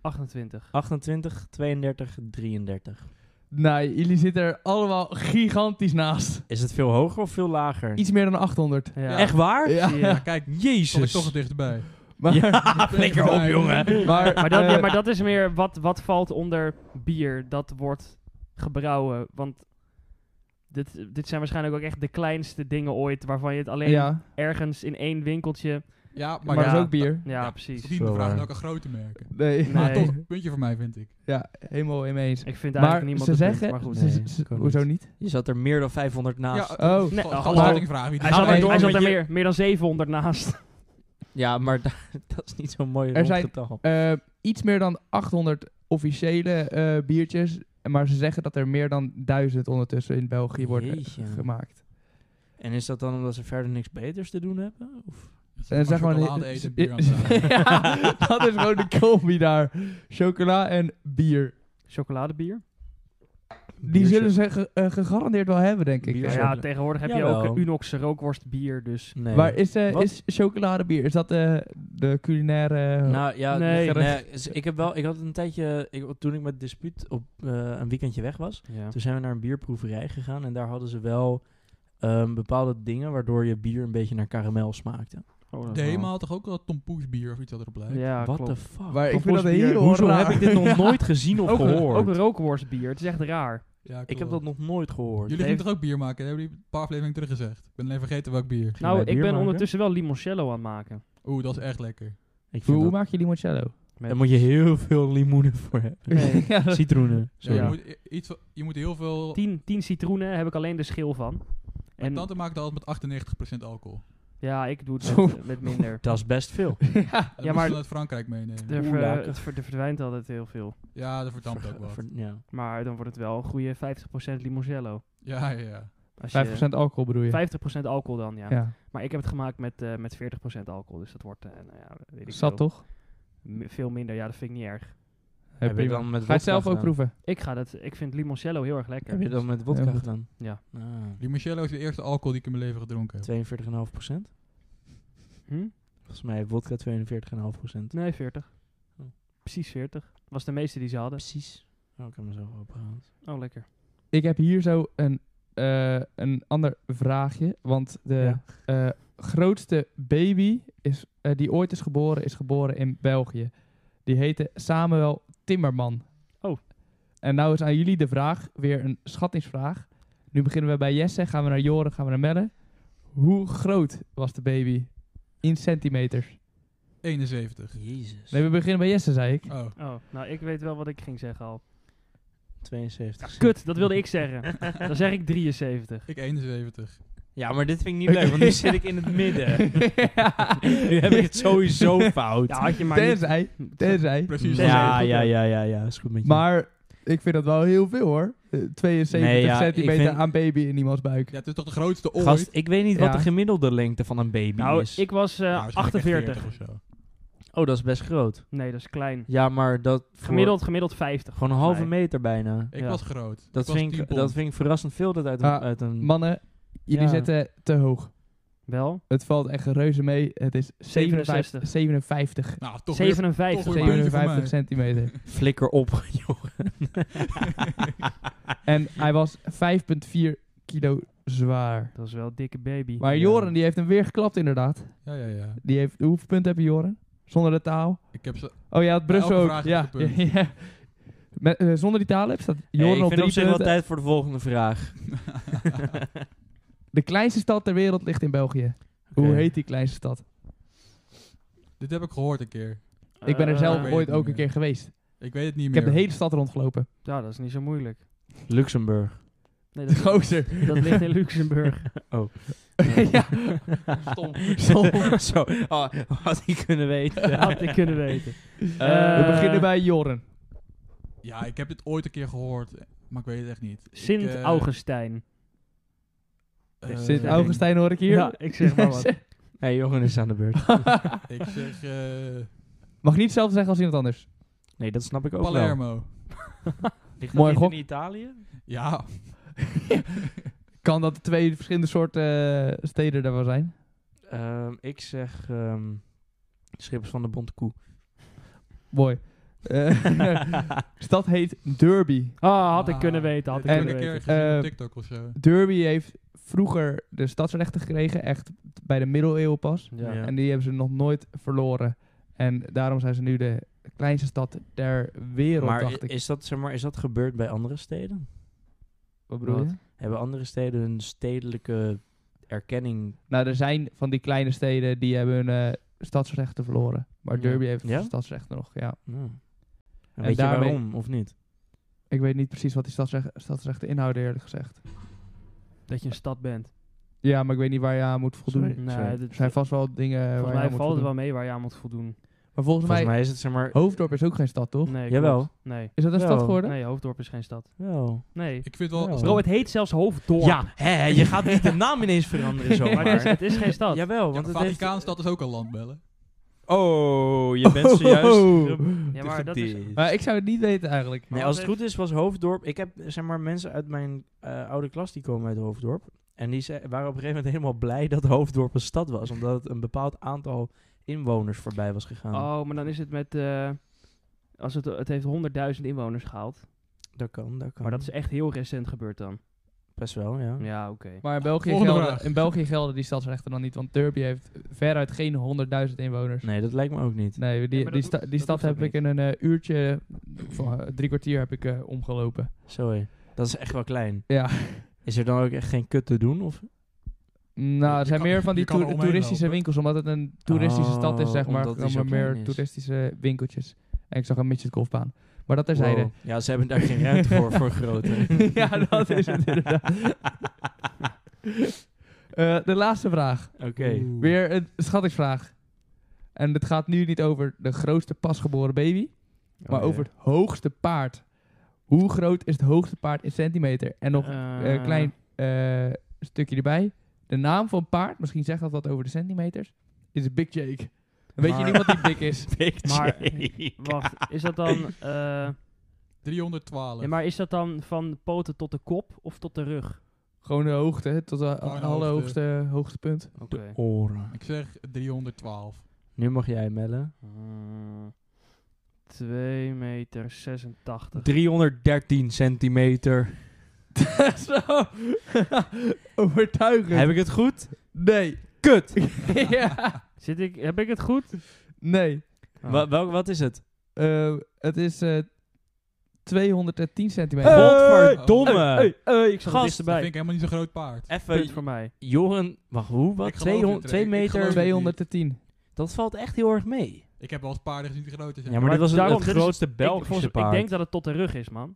28. 28, 32, 33. nee, jullie zitten er allemaal gigantisch naast. Is het veel hoger of veel lager? Iets meer dan 800. Ja. Echt waar? Ja. Zie je. Ja, kijk, kom ik Jezus. toch het dichterbij. Maar, Ja, flikker op, jongen. maar, Maar, dat, eh, ja, maar dat is meer wat, wat valt onder bier. Dat wordt gebrouwen. Want dit, dit zijn waarschijnlijk ook echt de kleinste dingen ooit. Waarvan je het alleen ja, ergens in één winkeltje. Ja, maar, maar ja, dat is ook bier. Ja, Ja, precies. Niet Zo de vraag waar. welke grote merken. Nee. Maar Nee. toch, puntje voor mij vind ik. Ja, helemaal mee eens. Ik vind eigenlijk Maar niemand ze het punt, zeggen... maar goed. ze- Nee, ze- ik ook hoezo niet? Je zat er meer dan 500 naast. eh. Ja, Oh. Nee, Ga- ga- hallo. ga- vraag wie die Hij zat, maar gaat. er, door hij zat met er meer, meer dan 700 naast. maar da- dat is niet zo'n mooi Er rond zijn- getal. Eh, iets meer dan 800 officiële eh, biertjes. Maar ze zeggen dat er meer dan 1000 ondertussen in België wordt eh, Jeetje. gemaakt. En is dat dan omdat ze verder niks beters te doen hebben? Of? En eh, ze zijn gewoon chocolade eten, bier aan het drinken. ja, dat is gewoon de combi daar. Chocola en bier. Chocoladebier? Die zullen ze ge- eh, gegarandeerd wel hebben, denk ik. Bier- Ja, Chocola- ja, tegenwoordig heb Jawel. je ook een Unox rookworstbier. Dus Nee. Maar is, eh, Wat? is chocoladebier, is dat eh, de culinaire... Nou ja, Nee. nee. dus ik, heb wel, ik had een tijdje, ik, toen ik met Dispuut op eh, een weekendje weg was, ja. toen zijn we naar een bierproeverij gegaan en daar hadden ze wel ehm, bepaalde dingen waardoor je bier een beetje naar karamel smaakte. Oh, De Hema had toch ook wel tompoesbier of iets dat erop lijkt? Ja, What klopt. the fuck? maar ik vind dat Tompoesbier. heel Hoezo raar. heb ik dit nog nooit gezien of Ook een, gehoord? ook een rookworstbier. Het is echt raar. Ja, ik heb klopt. dat nog nooit gehoord. Jullie gingen toch ook bier maken? Hebben jullie een paar afleveringen teruggezegd? Ik ben alleen vergeten welk bier. Gingen Nou, wij ik bier ben maken? ondertussen wel limoncello aan het maken. Oeh, dat is echt lekker. Ik Hoe, vind hoe dat- maak je limoncello? Met- daar moet je heel veel limoenen voor hebben. Ja, dat- Citroenen. Ja, sorry. je, moet, i- iets, van- je moet heel veel... Tien, tien citroenen heb ik alleen de schil van. Mijn En tante maakte altijd met 98% alcohol. ja, ik doe het Zo. met, met minder. Dat is best veel. ja. Dat Ja, ja, maar- maar... uit Frankrijk meenemen. Er, Oeh, ver- lekker. het ver- er verdwijnt altijd heel veel. Ja, dat verdampt Ver- ook wat. ver- ja. Maar dan wordt het wel een goede 50% limoncello. Ja, ja, ja. Als je- 5% alcohol bedoel je? 50% alcohol dan, ja. Ja, Maar ik heb het gemaakt met, eh, met 40% alcohol. Dus dat wordt, eh, nou ja, weet ik zat veel. toch? M- veel minder, ja, dat vind ik niet erg. Ja, je prima. dan met Ga je wodka het zelf ook gedaan? proeven? Ik, ga dat, ik vind limoncello heel erg lekker. Heb je dat met wodka Ja, goed. gedaan? Ja. Ah, Limoncello is de eerste alcohol die ik in mijn leven gedronken heb. 42,5 Hm? Volgens mij heeft wodka 42,5 Nee, 40. Oh. Precies 40. Was de meeste die ze hadden. Precies. Oh, ik heb mezelf opgehaald. Oh, lekker. Ik heb hier zo een, eh, een ander vraagje. Want de eh, grootste baby is, eh, die ooit is geboren, is geboren in België. Die heette Samuel timmerman. Oh. En nou is aan jullie de vraag, weer een schattingsvraag. Nu beginnen we bij Jesse, gaan we naar Joren, gaan we naar Melle. Hoe groot was de baby in centimeters? 71. Jezus. Nee, we beginnen bij Jesse, zei ik. Oh. Oh, nou, ik weet wel wat ik ging zeggen al. 72. Kut, dat wilde ik zeggen. Dan zeg ik 73. Ik 71. Ja, maar dit vind ik niet leuk, want nu zit ik in het midden. nu heb ik het sowieso fout. Ja, had je maar niet... Tenzij, tenzij. Precies. Ja, ja, ja, ja, ja, is goed met je. Maar ik vind dat wel heel veel hoor. Eh, 72 Nee, ja, ik centimeter vind- aan baby in iemands buik. Ja, het is toch de grootste ooit? Gast, eh, ik weet niet wat Ja. de gemiddelde lengte van een baby Nou, is. ik was eh, Ja, waarschijnlijk echt 48. of zo. Oh, dat is best groot. Nee, dat is klein. Ja, maar dat... voor- Gemiddeld, gemiddeld 50. Gewoon een halve Nee. meter bijna. Ik Ja. was groot. Dat ik was vind, 10 ik, pond. dat vind ik verrassend veel dat uit een... Ah, uit een Mannen, jullie Ja. zitten te hoog. Wel? Het valt echt reuze mee. Het is 57, 67. 57, Nou, toch weer- 57. toch weer maar- puntje voor 57 mij. centimeter. flikker op, joh. En hij was 5,4 kilo zwaar. Dat is wel een dikke baby. Maar Joren die heeft hem weer geklapt inderdaad. Ja, ja, ja. Die heeft, hoeveel punten heb je Joren? Zonder de taal? Ik heb ze... Oh ja, het Brussel elke ook. vraag Ja. heb ik een ja. Met, eh, zonder die taal heb staat Joren ik op vind drie op zich wel punten. tijd voor de volgende vraag. De kleinste stad ter wereld ligt in België. Hoe Oké. heet die kleinste stad? Dit heb ik gehoord een keer. ik ben er Eh, zelf weet ooit het niet ook een meer. keer geweest. Ik weet het niet Ik meer. heb de hele stad rondgelopen. Ja, dat is niet zo moeilijk. Luxemburg. Nee, dat, Gozer. dat ligt in Luxemburg. ja. Stom. Stom. Zo, oh, had ik kunnen weten. Dat had ik kunnen weten. We Eh, beginnen bij Joren. Ja, ik heb dit ooit een keer gehoord, eh, maar ik weet het echt niet. Ik, eh, Sint-Augustijn. eh, Sint Augustijn hoor ik hier. Ja, ik zeg maar wat. Hey, Jochen is aan de beurt. Ik zeg eh, Mag niet hetzelfde zeggen als iemand anders. Nee, dat snap ik ook wel. Palermo. Ligt Mooi gok. in Italië? Ja, Kan dat twee verschillende soorten eh, steden daar wel zijn? Ehm, ik zeg ehm, Schippers van de Bonte Koe. Mooi. Eh, stad heet Derby. Ah, had ik Ah, kunnen weten, had ik dit heb kunnen ik een keer weten. gezien op Eh, TikTok of zo. Derby heeft vroeger de stadsrechten gekregen. Echt bij de middeleeuwen pas. Ja. Ja. En die hebben ze nog nooit verloren. En daarom zijn ze nu de kleinste stad ter wereld, Maar, dacht i- ik. is dat, zeg maar is dat gebeurd bij andere steden? Wat bedoel Wat? je? Hebben andere steden hun stedelijke erkenning... Nou, er zijn van die kleine steden die hebben hun eh, stadsrechten verloren. Maar Ja. Derby heeft Ja? stadsrechten nog, ja. Ja. En En weet daarmee- je waarom, of niet? Ik weet niet precies wat die stadsrech- stadsrechten inhouden, eerlijk gezegd. Dat je een stad bent. Ja, maar ik weet niet waar je aan moet voldoen. Sorry. Nee, Zo. Er dat- zijn vast wel dingen waar volgens je mij aan moet valt het voldoen. wel mee waar je aan moet voldoen. Maar Volgens volgens, mij, mij Oh. is het, zeg maar... Hoofddorp is ook geen stad, toch? Nee, Jawel. klopt. Nee. Is dat een Ja. stad geworden? nee, Hoofddorp is geen stad. Wel. Nee. Ik vind wel... Ja. Bro, het heet zelfs Hoofddorp. Ja, hè, hè, je gaat niet de naam ineens veranderen Maar het is, zomaar. het is geen stad. Jawel, Ja, want de het heeft... Vaticaanstad is ook een land bellen. Oh, je bent zojuist... Ja, maar dat is... Maar ik zou het niet weten eigenlijk. Nee, als het goed is was Hoofddorp... Ik heb zeg maar mensen uit mijn eh, oude klas die komen uit Hoofddorp. En die ze- waren op een gegeven moment helemaal blij dat Hoofddorp een stad was. Omdat het een bepaald aantal inwoners voorbij was gegaan. Oh, maar dan is het met... eh, als het, het heeft 100.000 inwoners gehaald. Dat kan, dat kan. Maar dat is echt heel recent gebeurd dan. best wel, ja. Ja, oké. Maar in België, Volgende gelden, vraag. in België gelden die stadsrechten dan niet, want Derby heeft veruit geen 100.000 inwoners. Nee, dat lijkt me ook niet. Nee, die, maar dat die, hoeft- sta- die dat stad hoeft ook heb ik in een eh, uurtje, van, eh, drie kwartier heb ik eh, omgelopen. Sorry. Dat is echt wel klein. Ja, Is er dan ook echt geen kut te doen? Of? nou, Je er zijn kan- meer van je die kan er toer- omheen toeristische lopen. winkels, omdat het een toeristische Oh, stad is, zeg maar. omdat die zo Komen meer klein is. toeristische winkeltjes. En ik zag een midget golfbaan. Maar dat terzijde. Wow. Ja, ze hebben daar geen ruimte voor, voor grote. ja, dat is het inderdaad. Eh, de laatste vraag. Oké. Oeh. Weer een schattingsvraag. En het gaat nu niet over de grootste pasgeboren baby, Oh, maar over het hoogste paard. Hoe groot is het hoogste paard in centimeter? En nog Eh, een klein eh, stukje erbij. De naam van paard, misschien zegt dat wat over de centimeters, is Big Jake. Dan weet je Maar- niet wat die big is. Big Maar- Jake. Wacht, is dat dan... eh, 312. ja, maar is dat dan van de poten tot de kop of tot de rug? Gewoon de hoogte, hè, tot de Gewoon de allerhoogste hoogste punt. Oké. De oren. Ik zeg 312. Nu mag jij mellen. Hmm, 2 meter 86. 313 centimeter. Zo. Overtuigend. Heb ik het goed? Nee. Kut! ja. Zit ik, heb ik het goed? Nee. Oh. Wa- welk- wat is het? Eh, het is eh, 210 centimeter. Hey! Godverdomme. Hey, hey, Oh. ik ik zat er zat er Dat vind ik dichterbij. helemaal niet zo'n groot paard. Punt Even, voor mij. Joren, wacht, hoe? Wat? Ik geloof je, 200, 2 Trey. Ik meter? geloof je. 210. Dat valt echt heel erg mee. Ik heb wel eens paarden gezien die groter zijn. Ja, maar dit was het, daarom, het dit is- grootste ik, Belgische volgens- paard. ik denk dat het tot de rug is, man.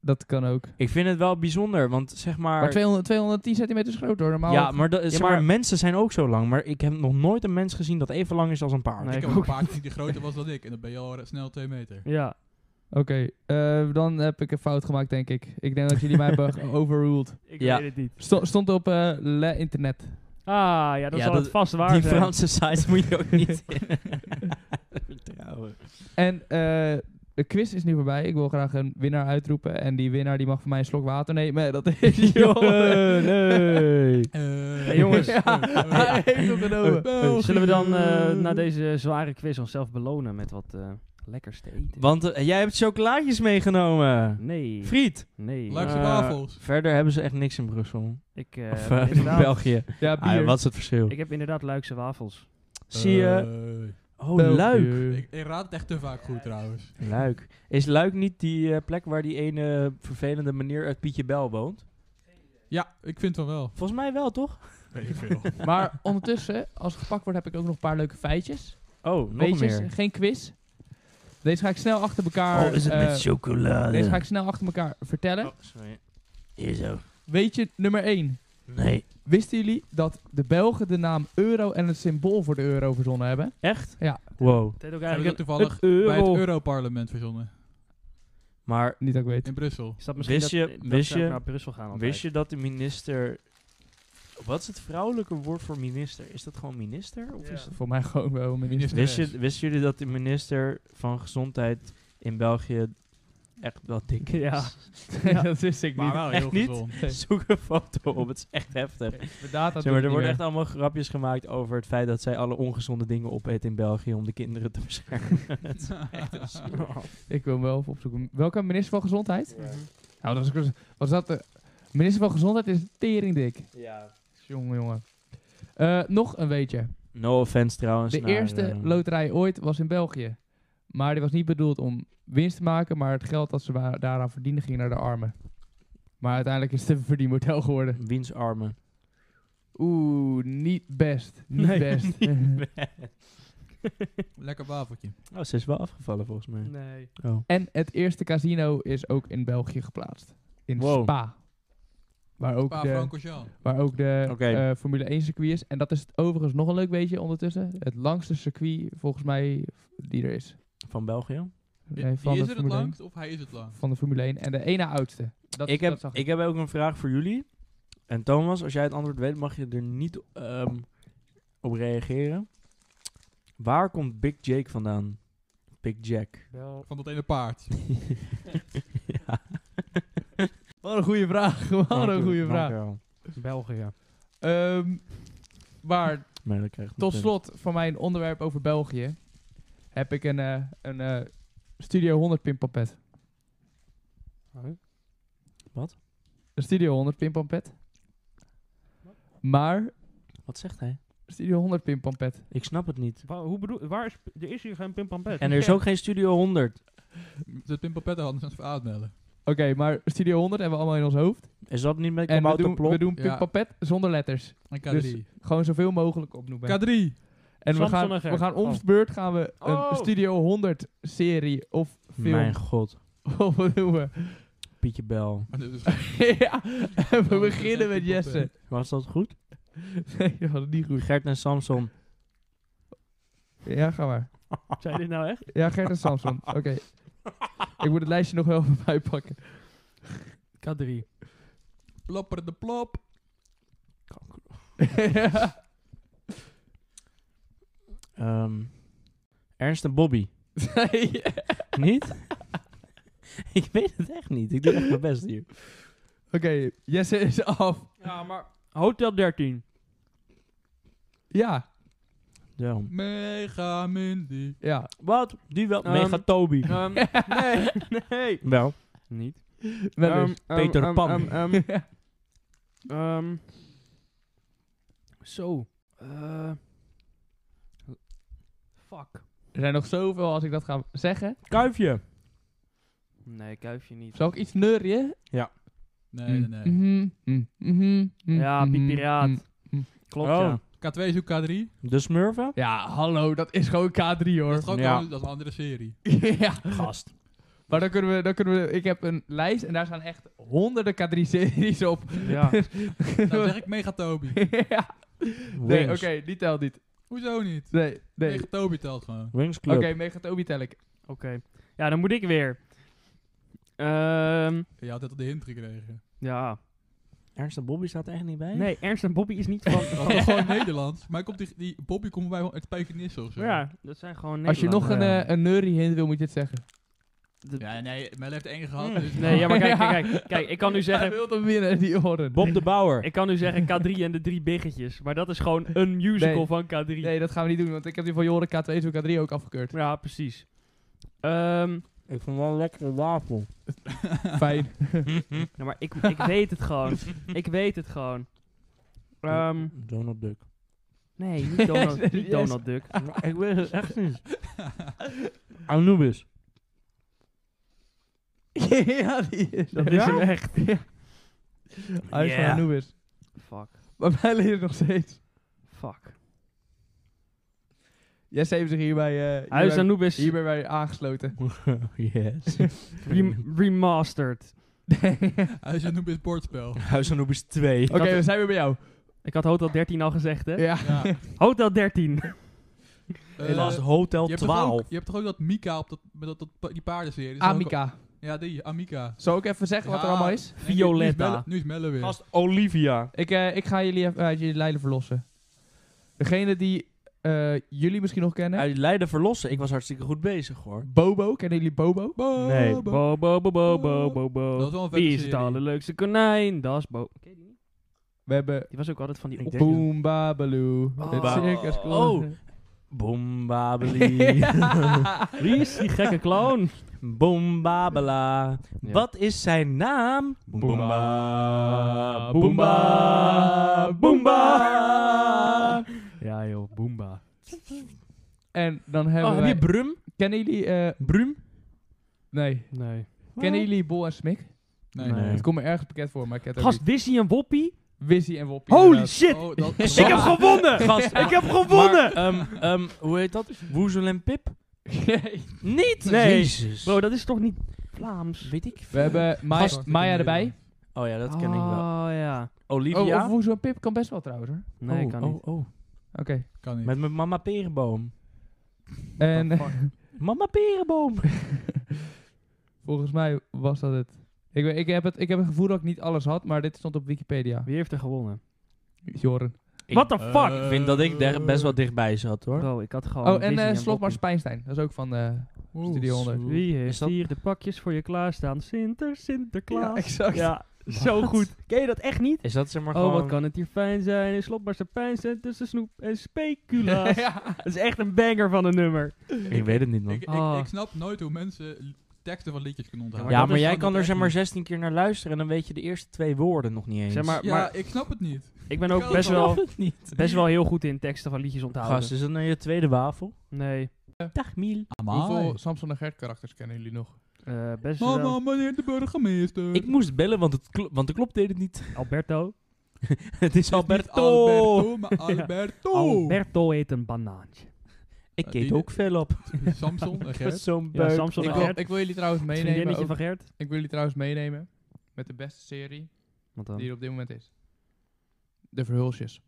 Dat kan ook. Ik vind het wel bijzonder, want zeg maar... Maar 200, 210 centimeter is groot hoor. Normaal ja, maar, dat- zeg maar, maar- mensen zijn ook zo lang. Maar ik heb nog nooit een mens gezien dat even lang is als een paard. Nee. ik ik heb ook een ook. paard die groter was dan ik. En dan ben je al eh, snel twee meter. Ja. Oké, eh, dan heb ik een fout gemaakt denk ik. Ik denk dat jullie mij hebben ge- overruled. Ik Ja. weet het niet. Sto- stond op eh, Le Internet. Ah, ja, dat Ja, zal dat- het vast waar eh? Die zijn. Franse sites moet je ook niet vertrouwen. En eh, de quiz is nu voorbij. Ik wil graag een winnaar uitroepen. En die winnaar die mag van mij een slok water nemen. Dat is Joren. nee. Eh, Hey, jongens. eh, eh, Hij heeft hem genomen. Oh, België. Zullen we dan eh, na deze zware quiz onszelf belonen met wat eh, lekkers te eten? Want eh, jij hebt chocolaatjes meegenomen. Nee. Friet. Nee. Luikse Eh, wafels. Verder hebben ze echt niks in Brussel. Ik, eh, of heb eh, in inderdaad- België. Ja, Ah, bier. wat is het verschil? Eh, Ik heb inderdaad Luikse wafels. Zie eh, je... Oh, België. Luik. Ik, ik raad het echt te vaak goed trouwens. Luik. Is Luik niet die eh, plek waar die ene vervelende meneer uit Pietje Bel woont? Ja, ik vind het wel. Volgens mij wel, toch? Weet ik veel. Maar ondertussen, als het gepakt wordt, heb ik ook nog een paar leuke feitjes. Oh, nog Weetjes, meer. Oh, geen quiz. Deze ga ik snel achter elkaar... eh, chocolade? Deze ga ik snel achter elkaar Oh. vertellen. sorry. Hier zo. Weetje nummer 1. Nee. Wisten jullie dat de Belgen de naam euro en het symbool voor de euro verzonnen hebben? Echt? Ja. Wow. Het heet ook Hebben eigenlijk dat toevallig een euro. bij het Europarlement verzonnen. Maar Niet dat ik weet. In Brussel. Is dat misschien Wist je- dat, dat wist ze ook je- naar Brussel gaan altijd? wist je dat de minister... Wat is het vrouwelijke woord voor minister? Is dat gewoon minister? Of Ja. is het... Voor mij gewoon wel minister. Minister Wist Rens. je, wisten jullie dat de minister van Gezondheid in België echt wel dik is? Ja. dat wist ik Maar niet. wel Echt heel niet? gezond. Zoek een foto op, het is echt heftig. De data Zeg maar, er doet worden het echt allemaal grapjes gemaakt over het feit dat zij alle ongezonde dingen opeet in België om de kinderen te beschermen. Het is echt een schroom. niet meer. Ik wil hem wel even opzoeken. Welke minister van Gezondheid? Nou, dat is, was dat de minister van Gezondheid is teringdik. Ja. Jongen, jongen. Eh, nog een weetje. No offense trouwens. De naar, eerste eh, loterij ooit was in België. Maar die was niet bedoeld om winst te maken, maar het geld dat ze wa- daaraan verdienden ging naar de armen. Maar uiteindelijk is het een verdienmodel geworden. Wiensarmen. Oeh, niet best. Niet Nee, best. Lekker wafeltje. Oh, ze is wel afgevallen volgens mij. Nee. Oh. en het eerste casino is ook in België geplaatst. In Wow. Spa. Waar ook eh, Paar de, Francorchamps. waar ook de Oké. eh, Formule 1 circuit is. En dat is overigens nog een leuk weetje ondertussen. Het langste circuit volgens mij die er is. Van België. Nee, Is de het het Formule 1. langst of hij is het langst? van de Formule 1 en de ene oudste. Dat, ik, dat heb, zag ik. ik heb ook een vraag voor jullie. En Thomas, als jij het antwoord weet, mag je er niet ehm, op reageren. Waar komt Big Jake vandaan? Big Jack. Wel. Van dat ene paard. ja. Wat een goede vraag. Wat Oh, een goede vraag. België. Ehm, maar Maar dat krijgt tot meteen- slot van mijn onderwerp over België heb ik een, eh, een eh, Studio 100 pinpampet. Wat? Een Studio 100 pinpampet. Maar Wat zegt hij? Studio 100 pinpampet. Ik snap het niet. Waar, hoe bedoel, waar is, er is hier geen pimpampet. En er is ook geen Studio 100. Dat Pimpelpette hadden ze aan het aanmelden. Oké, maar Studio 100 hebben we allemaal in ons hoofd. Is dat niet met En we Kabouter doen, we Plop? doen Ja. pinpampet zonder letters. En K3. Dus gewoon zoveel mogelijk opnoemen. K3! En we Samson gaan, en Gert. we gaan om Oh. de beurt gaan we een Oh. Studio 100 serie of film Mijn god. opnoemen. Pietje Bel. Maar Ah, dit is ja, en we Oh, beginnen met dat is echt Jesse. Was dat goed? Nee, dat was niet goed. Gert en Samson. Ja, ga maar. Zijn dit nou echt? Ja, Gert en Samson. Oké. Ik moet het lijstje nog wel even bijpakken. K3. Plopper de plop. Ja. Ehm, Ernst en Bobby. Nee. Niet? ik weet het echt niet. Ik doe echt mijn best hier. Oké, Jesse is af. Ja, maar... Hotel 13. Ja, Zo. Mega Mindy. ja. Wat? Die wel. Ehm, Mega Toby. nee, nee. Wel. Dus Niet. Wel ehm, eens. Peter Pan. ehm. Ehm, zo. Eh, fuck. Er zijn nog zoveel als ik dat ga zeggen. Kuifje. Nee, kuifje niet. Zal ik iets neurien? Nee, nee, nee. Mhm, mhm, mhm, mhm, Ja, Piet mhm, Piraat. mhm. Klopt, Oh. ja. K2 zoekt K3. De Smurfen? Ja, hallo, dat is gewoon K3 Dat hoor. is, gewoon Ja. dat is een andere serie. ja. Gast. Maar dan kunnen, we, dan kunnen we... Ik heb een lijst en daar staan echt honderden K3-series op. ja. Dan zeg ik Megatobi. ja. Nee, oké, die telt niet. Hoezo niet? Nee, nee. Megatobi telt gewoon. Wings Oké, Club. Megatobi tel ik. Oké. Ja, dan moet ik weer. Ehm, Je had het al de hint gekregen. ja. Ernst en Bobby staat er echt niet bij? Nee, Ernst en Bobby is niet van... Dat Oh, was gewoon Nederlands. Maar komt die, die Bobby komt bij uit Spijkenisse of zo. ja, dat zijn gewoon Als je nog een, Ja. eh, een neurie hint wil, moet je het zeggen. Nederlanders. Ja, nee, Mel heeft één Mm. gehad. Dus Nee, ja, maar kijk, kijk, kijk, kijk, ik kan nu Hij zeggen... wil hem winnen, die oren. Bob de Bauer. Ik kan nu zeggen K3 en de drie biggetjes, maar dat is gewoon een musical Nee. van K3. Nee, dat gaan we niet doen, want ik heb die van Joren K2 zo K3 ook afgekeurd. Ja, precies. Ehm, Ik vond wel een lekkere wafel. Fijn. nou, maar ik, ik weet het gewoon. Ik weet het gewoon. Ehm, Donald Duck. nee, niet Donald, Yes, niet yes. Donald Duck. ik weet het echt niet. Anubis. ja, die is Dat er. is hem echt. Hij is van Ja. Anubis. Fuck. Maar wij leren nog steeds. Fuck. Jij heeft zich hierbij, eh Huis hierbij, Anubis hierbij bij aangesloten. yes. rem- remastered. Hij is een noem bordspel. Huis Anubis 2. Oké, we zijn weer bij jou. Ik had Hotel 13 al gezegd, hè? Ja. Ja. Hotel 13. Het was Eh, Hotel je hebt, toch 12. ook, je hebt toch ook dat Mika op dat, met dat, dat- die paardenserie? Dat is ook- Amica. Ja, die, Amika. Zal ik even zeggen wat er Ja. allemaal is? Nee, nu- Violetta. Nu is Melle weer. Gast Olivia. Ik, eh, ik ga jullie even uit jullie lijden verlossen. Degene die eh, jullie misschien nog kennen. Uit Leiden verlossen. Ik was hartstikke goed bezig hoor. Bobo. Kennen jullie Bobo? Bo- Nee, bo- Bo, bo, bo, bo, bo, bo, bo. Dat is wel een vette Wie is het serie. allerleukste konijn? Dat is Bo. Ken je die niet? We hebben Die was ook altijd van die... Ik op- denk- Boom Babaloo. Oh. Het Ba- circus Oh. klonk. Bombabeli. Wie is die gekke clown? Bombabela. Ja. Wat is zijn naam? Boomba. Boomba. Boomba. Ja joh, Boomba. En dan hebben Oh, heb wij- je Brum? Kennen jullie... eh, Brum? nee. Nee. Kennen jullie Bol en Smik? Nee. Nee. Het komt me ergens bekend voor, maar ik ken het ook Gast, wist hij een woppie? niet. Wizzy en Woppie. Holy inderdaad. shit! Oh, dat, Ik heb gewonnen! Gast, eh, Ik heb Maar, gewonnen! ehm, ehm, hoe heet dat? Woezel en Pip? Niet! Nee. Jezus. Bro, dat is toch niet Vlaams? Weet ik We veel. hebben Maya, Gast. Maya erbij. Oh ja, dat ken ik wel. Oh ja. Oh, Olivia? of Woezo en Pip kan best wel trouwens hoor. Nee, oh, kan oh, niet. oh. Oké. Kan niet. Met mijn mama perenboom. En What the fuck? Mama perenboom! volgens mij was dat het. Ik, weet- ik, heb het. ik heb het gevoel dat ik niet alles had, maar dit stond op Wikipedia. Wie heeft er gewonnen? Joren. Ik- What the fuck? Ik vind dat ik daar best wel dichtbij zat hoor. Bro, ik had gewoon Oh, en Wizzy eh Slotmar Woppie. Spijnstein. Dat is ook van eh, Oeh, Studio 100. zo. Wie Is heeft dat- hier de pakjes voor je klaarstaan? Sinter, Ja, Sinterklaas. exact. Ja, zo goed. Ken je dat echt niet? Is dat zeg maar Oh, gewoon... wat kan het hier fijn zijn. In slotbaar pijn zijn tussen snoep en speculaas. Ja. Dat is echt een banger van een nummer. Ik weet het niet man. Ik, ik, Ah. ik snap nooit hoe mensen li- teksten van liedjes kunnen Ja, onthouden. ja, dat maar is jij Ik snap kan er dat zeg maar echt 16 keer naar luisteren en dan weet je de eerste twee woorden nog niet eens. Zeg maar, niet. Ja, maar ik snap het niet. ik ben ik ook kan best het wel, het niet. best wel heel goed in teksten van liedjes onthouden. Gast, is dat nou je tweede wafel? Nee, Dag Miel. Hoeveel Samson en Gert karakters kennen jullie nog? eh, best Mama, wel. meneer de burgemeester. Ik moest bellen, want, het klo- want de klop deed het niet. Alberto. het is Het is niet Alberto. Alberto, maar Oh. Alberto. Alberto eet een banaantje. Ik Eh, keek die- ook veel op. Samson en Met Gerrit. zo'n Ja, buik. Samson Ik en wil, Gert. ik wil jullie trouwens Het meenemen. vriendinnetje over- van Gert. ik wil jullie trouwens meenemen met de beste serie Want dan, die er op dit moment is. De Verhulsjes.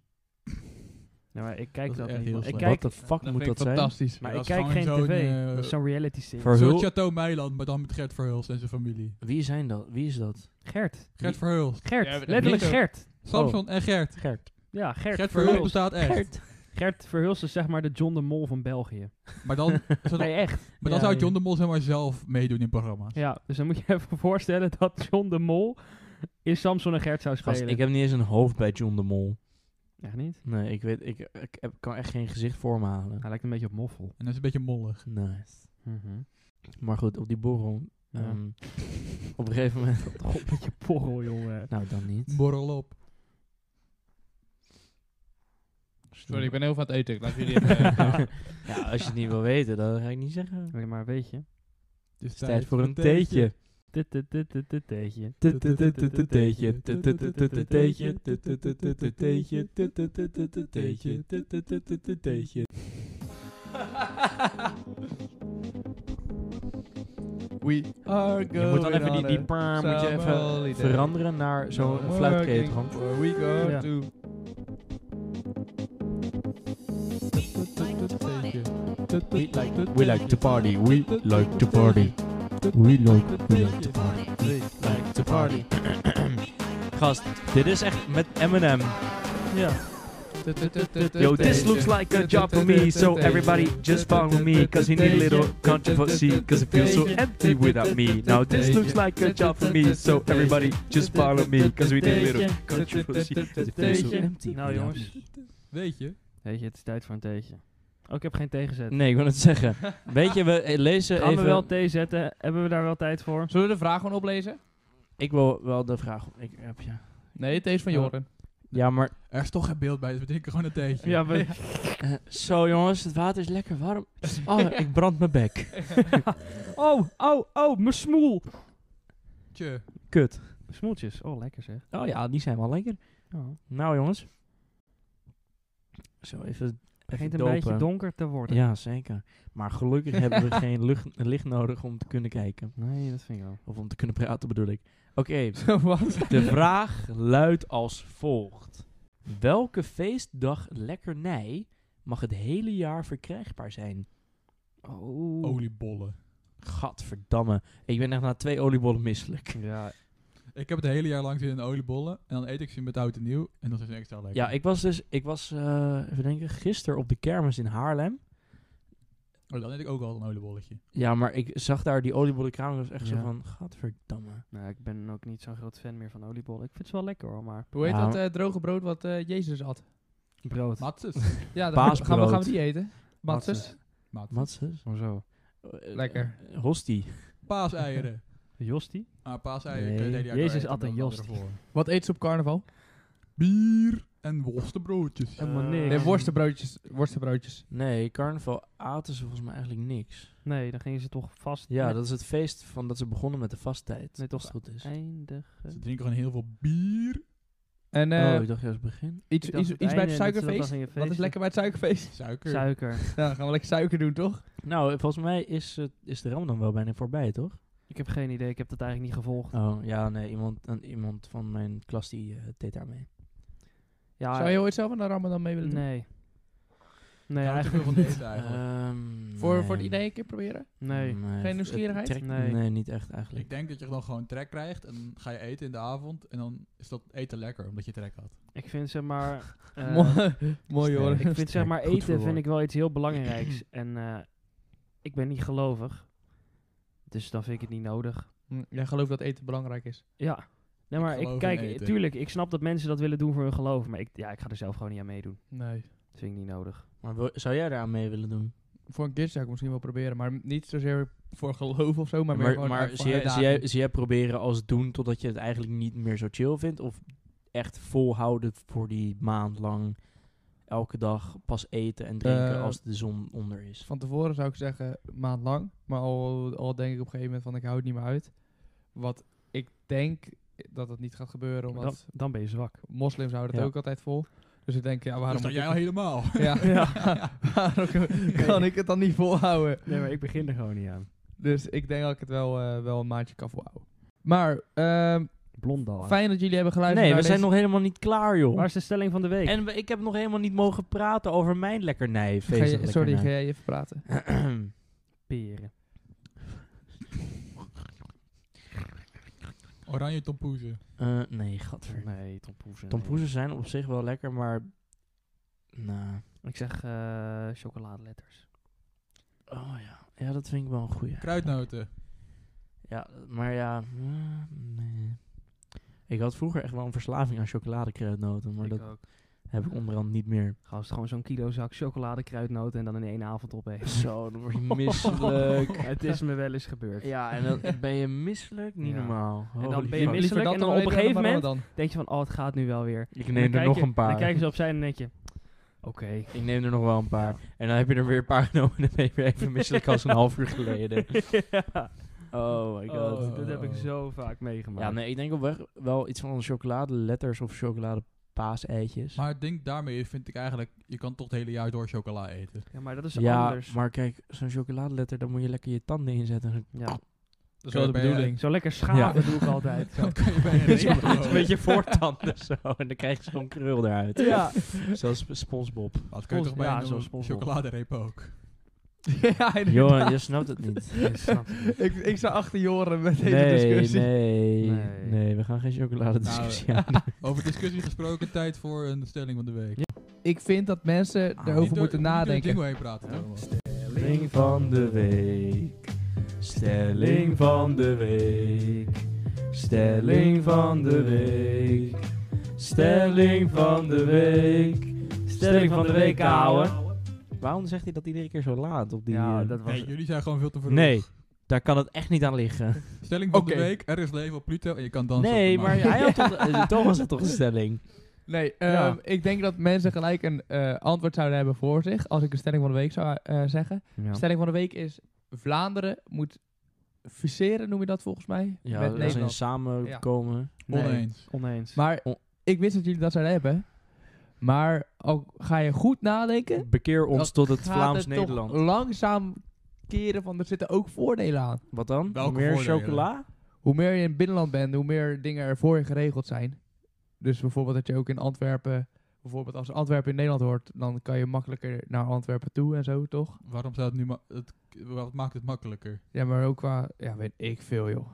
Ja, maar ik kijk Dat is dat, echt niet. heel man. Ik slecht. What kijk, the fuck Dat moet vind dat ik zijn? fantastisch. maar Dat ik is kijk geen gewoon zo'n, tv. eh, Dat is zo'n reality serie. Ver- Verhul- Zo'n Chateau Meiland, maar dan met Gert Verhulst en zijn familie. Wie zijn dat? Wie is dat? Gert. Hm. Gert Verhulst. Gert. Ja, we- Letterlijk Nico. Gert. Oh. Samson en Gert. Gert. Ja, Gert. Gert Verhulst Verhulst. bestaat echt. Gert Verhulst is zeg maar de John de Mol van België. Maar dan, zou, Nee, echt. maar dan Ja, zou ja. John de Mol zeg maar zelf meedoen in programma's. Ja, dus dan moet je even voorstellen dat John de Mol in Samson en Gert zou spelen. Gast, ik heb niet eens een hoofd bij John de Mol. Echt niet? Nee, ik weet, ik, ik heb, kan echt geen gezicht voor me halen. Hij lijkt een beetje op Moffel. Ehm, En dat is een beetje mollig. Nice. Maar goed, op die borrel. Mhm. Ja. ehm, op een gegeven moment. Toch een beetje porrel, jongen. Nou, dan niet. Borrel op. Sorry, ik ben heel van het eten. Ik laat jullie eh, even... ja, als je het niet wil weten, dan ga ik niet zeggen. Oké, Maar weet je, Het is Het is tijd voor een theetje. Teetje. We are going Je moet dan even die, die on paar a moet je summer even holiday. veranderen naar zo'n Working fluitkreet. where We go Ja. to. We like, we like to party, we like to party. We like, we like to party, we like to party. Gast, dit is echt met Eminem. Ja. Yo, Yo, this looks like a job for me, so everybody just follow me, cause he need a little controversy, cause it feels so empty without me. Now this looks like a job for me, so everybody just follow me, cause we need a little controversy, cause it feels so empty. Nou, jongens. Weet je? Weet je, het is tijd voor een theetje. Oh, ik heb geen thee gezet. Nee, ik wil het zeggen. Weet je, we eh, lezen Gaan even... we wel thee zetten? Hebben we daar wel tijd voor? Zullen we de vraag gewoon oplezen? ik wil wel de vraag... Ik heb je. Nee, het is van Ja. Joren. Ja, maar... Er is toch geen beeld bij, dus we drinken gewoon een theetje. Ja, we, eh, zo, jongens, het water is lekker warm. Oh, ik brand mijn bek. Oh, oh, oh, mijn smoel. Tje. Kut. Smoeltjes, oh lekker zeg. Oh ja, die zijn wel lekker. Oh, Nou, jongens. Zo, even, even Begint een dopen. beetje donker te worden. Ja, zeker. Maar gelukkig hebben we geen lucht, licht nodig om te kunnen kijken. Nee, dat vind ik wel. Of om te kunnen praten, bedoel ik. Oké, Wat? de vraag luidt als volgt. Welke feestdag lekkernij mag het hele jaar verkrijgbaar zijn? Oh. Oliebollen. Gadverdamme. Ik ben echt na twee oliebollen misselijk. Ja, Ik heb het hele jaar lang zin in oliebollen. En dan eet ik ze met oud en nieuw. En dan zijn ze extra lekker. Ja, ik was dus, ik was, eh, even denken, gisteren op de kermis in Haarlem. Oh, dan eet ik ook al een oliebolletje. Ja, maar ik zag daar die oliebollenkraam en was echt zo Ja. van, gadverdamme. nou, ik ben ook niet zo'n groot fan meer van oliebollen. Ik vind ze wel lekker hoor, maar Hoe heet Ja. dat eh, droge brood wat eh, Jezus had? brood. Matses. Ja, dan gaan we- gaan we, Paasbrood. gaan we die eten. Matses. Matses. Matses? Hoezo? Eh, Lekker. Eh, Hostie. Paaseieren. Josti? Ah, paaseieren. Nee. kun je het hele jaar Jezus door eten, at een met andere jost. vormen. Wat eet ze op carnaval? Bier en worstenbroodjes. Helemaal Eh, niks. Nee, worstenbroodjes. Worstenbroodjes. Nee, carnaval aten ze volgens mij eigenlijk niks. Nee, dan gingen ze toch vast. Ja, met- dat is het feest van dat ze begonnen met de vasttijd. Nee, toch als het goed is. Ze eindigen. drinken gewoon heel veel bier. En eh, oh, ik dacht juist begin. iets, Ik dacht iets, het iets bij einde het dat ze dat suikerfeest. dan gingen Wat is feesten. lekker bij het suikerfeest? Suiker. Suiker. Nou, dan gaan we lekker suiker doen, toch? Nou, eh, volgens mij is, het is de Ramadan wel bijna voorbij, toch? ik heb geen idee, ik heb dat eigenlijk niet gevolgd. Oh, ja, nee, iemand, een, iemand van mijn klas die eh, deed daar mee. Ja, Zou je ooit zelf naar Ramadan mee willen doen? nee. Ja, Nee, dat is eigenlijk veel van niet. eten eigenlijk. Ehm, Voor, nee. voor het idee een keer proberen? Nee. het- nieuwsgierigheid? het trekt- Nee. nee. niet echt Ik eigenlijk. denk dat je dan gewoon trek krijgt en dan ga je eten in de avond en dan is dat eten lekker omdat je trek had. Ik vind zeg maar. eh, Mooi- Mooi hoor. sterk. ik vind zeg maar Goed eten vind verwoord. ik wel iets heel belangrijks. en eh, ik ben niet gelovig. Dus dan vind ik het niet nodig. Hm, Jij gelooft dat eten belangrijk is. Ja. Nee, maar ik, geloof in kijk, eten. tuurlijk, ik snap dat mensen dat willen doen voor hun geloof. Maar ik, ja, ik ga er zelf gewoon niet aan meedoen. Nee. Dat vind ik niet nodig. Maar wil- zou jij daar aan mee willen doen? Voor een keer zou ik misschien wel proberen, maar niet zozeer voor geloof of zo, maar, meer maar gewoon maar uit- zie, jij, zie, uitdaging. jij, zie jij proberen als doen totdat je het eigenlijk niet meer zo chill vindt? Of echt volhouden voor die maand lang elke dag pas eten en drinken Eh, als de zon onder is? Van tevoren zou ik zeggen maand lang, maar al, al denk ik op een gegeven moment van ik hou het niet meer uit. Wat ik denk dat dat niet gaat gebeuren, Dan, omdat dan ben je zwak. moslims houden het Ja. ook altijd vol. Dus ik denk, ja, waarom... dus dan moet jij ik- al helemaal. Ja, waarom kan ik het dan niet volhouden? Nee, maar ik begin er gewoon niet aan. Dus ik denk dat ik het wel, eh, wel een maandje kan volhouden. Maar ehm, Blondal. hè? fijn dat jullie hebben geluisterd Nee, we naar zijn deze- nog helemaal niet klaar, joh. Waar is de stelling van de week? En we- ik heb nog helemaal niet mogen praten over mijn lekkernij. Ga je- feestelijk sorry, ga lekkernij. jij even praten? peren. Oranje tompoezen. Eh, nee, gadver. Nee, tompoezen. Tompoezen zijn op zich wel lekker, maar... Nou... nee. Ik zeg eh chocoladeletters. Oh ja. Ja, dat vind ik wel een goeie. Kruidnoten. Ja, maar ja. eh, nee. Ik had vroeger echt wel een verslaving aan chocoladekruidnoten, maar ik dat ook. heb ik onderhand niet meer. Gast, gewoon zo'n kilo zak chocoladekruidnoten en dan in één avond opeten. Zo, dan word je misselijk. Het is me wel eens gebeurd. Ja, en dan ben je misselijk? Niet Ja. normaal. dan Holy ben je fuck. misselijk Liever dat en dan op een eten gegeven dan moment- Ramadan. Denk je van, oh, het gaat nu wel weer. Ik En neem dan er kijk nog je- een Dan paar. kijken ze opzij en denk je, oké. Ik neem er nog wel een paar. En dan heb je er weer een paar genomen en dan ben je weer even misselijk als een half uur geleden. Ja. Oh my god. Oh, dat heb ik Oh. zo vaak meegemaakt. Ja, nee, ik denk op weg wel iets van chocoladeletters of chocoladepaaseitjes. Maar ik denk daarmee vind ik eigenlijk, je kan toch het hele jaar door chocola eten. Ja, maar dat is ja, anders. maar kijk, zo'n chocoladeletter, daar moet je lekker je tanden in zetten. Ja. Dat Zo de bedoeling. Zo lekker schaven doe ik altijd. Zo. Dat kan je bij Ja, een Een beetje voortanden zo. En dan krijg je zo'n krul eruit. Ja. Zoals Sp- SpongeBob. Dat kun je toch bij Ja, zo'n een SpongeBob. chocoladereep ook. ja, inderdaad. Johan, je snapt het niet. Ik snap het niet. ik, ik sta achter Joren met deze Nee, discussie. nee, Nee. nee. We gaan geen chocoladediscussie Nou, aan. Over discussie gesproken, tijd voor een stelling van de week. Ik vind dat mensen Ah, daarover Niet door- moeten niet door nadenken. Jingo heen praten. Ja. Thomas. Stelling van de week. Stelling van de week. Stelling van de week. Stelling van de week. Stelling van de week, ouwe. Waarom zegt hij dat iedere keer zo laat op die... Ja, eh, dat was Nee, jullie zijn gewoon veel te verroerd. Nee, daar kan het echt niet aan liggen. Stelling van Oké. de week, er is leven op Pluto en je kan dansen. Nee, op de maar maan. hij had toch... eh, Thomas had toch een stelling? Nee, Ja. ehm, ik denk dat mensen gelijk een eh, antwoord zouden hebben voor zich. Als ik een stelling van de week zou eh, zeggen. Stelling van de week is: Vlaanderen moet fuseren, noem je dat volgens mij? Ja, met dat is een Nederland. samenkomen. Nee. Oneens. oneens. Maar On- ik wist dat jullie dat zouden hebben. Maar ook ga je goed nadenken. Bekeer ons dan tot het gaat Vlaams-Nederland. toch langzaam keren van er zitten ook voordelen aan. Wat dan? Welke Meer voordelen? chocola? Hoe meer je in het binnenland bent, hoe meer dingen er voor je geregeld zijn. Dus bijvoorbeeld dat je ook in Antwerpen, bijvoorbeeld als Antwerpen in Nederland hoort, dan kan je makkelijker naar Antwerpen toe en zo, toch? Waarom zou het nu... ma- het, wat maakt het makkelijker? Ja, maar ook qua, ja, weet ik veel, joh.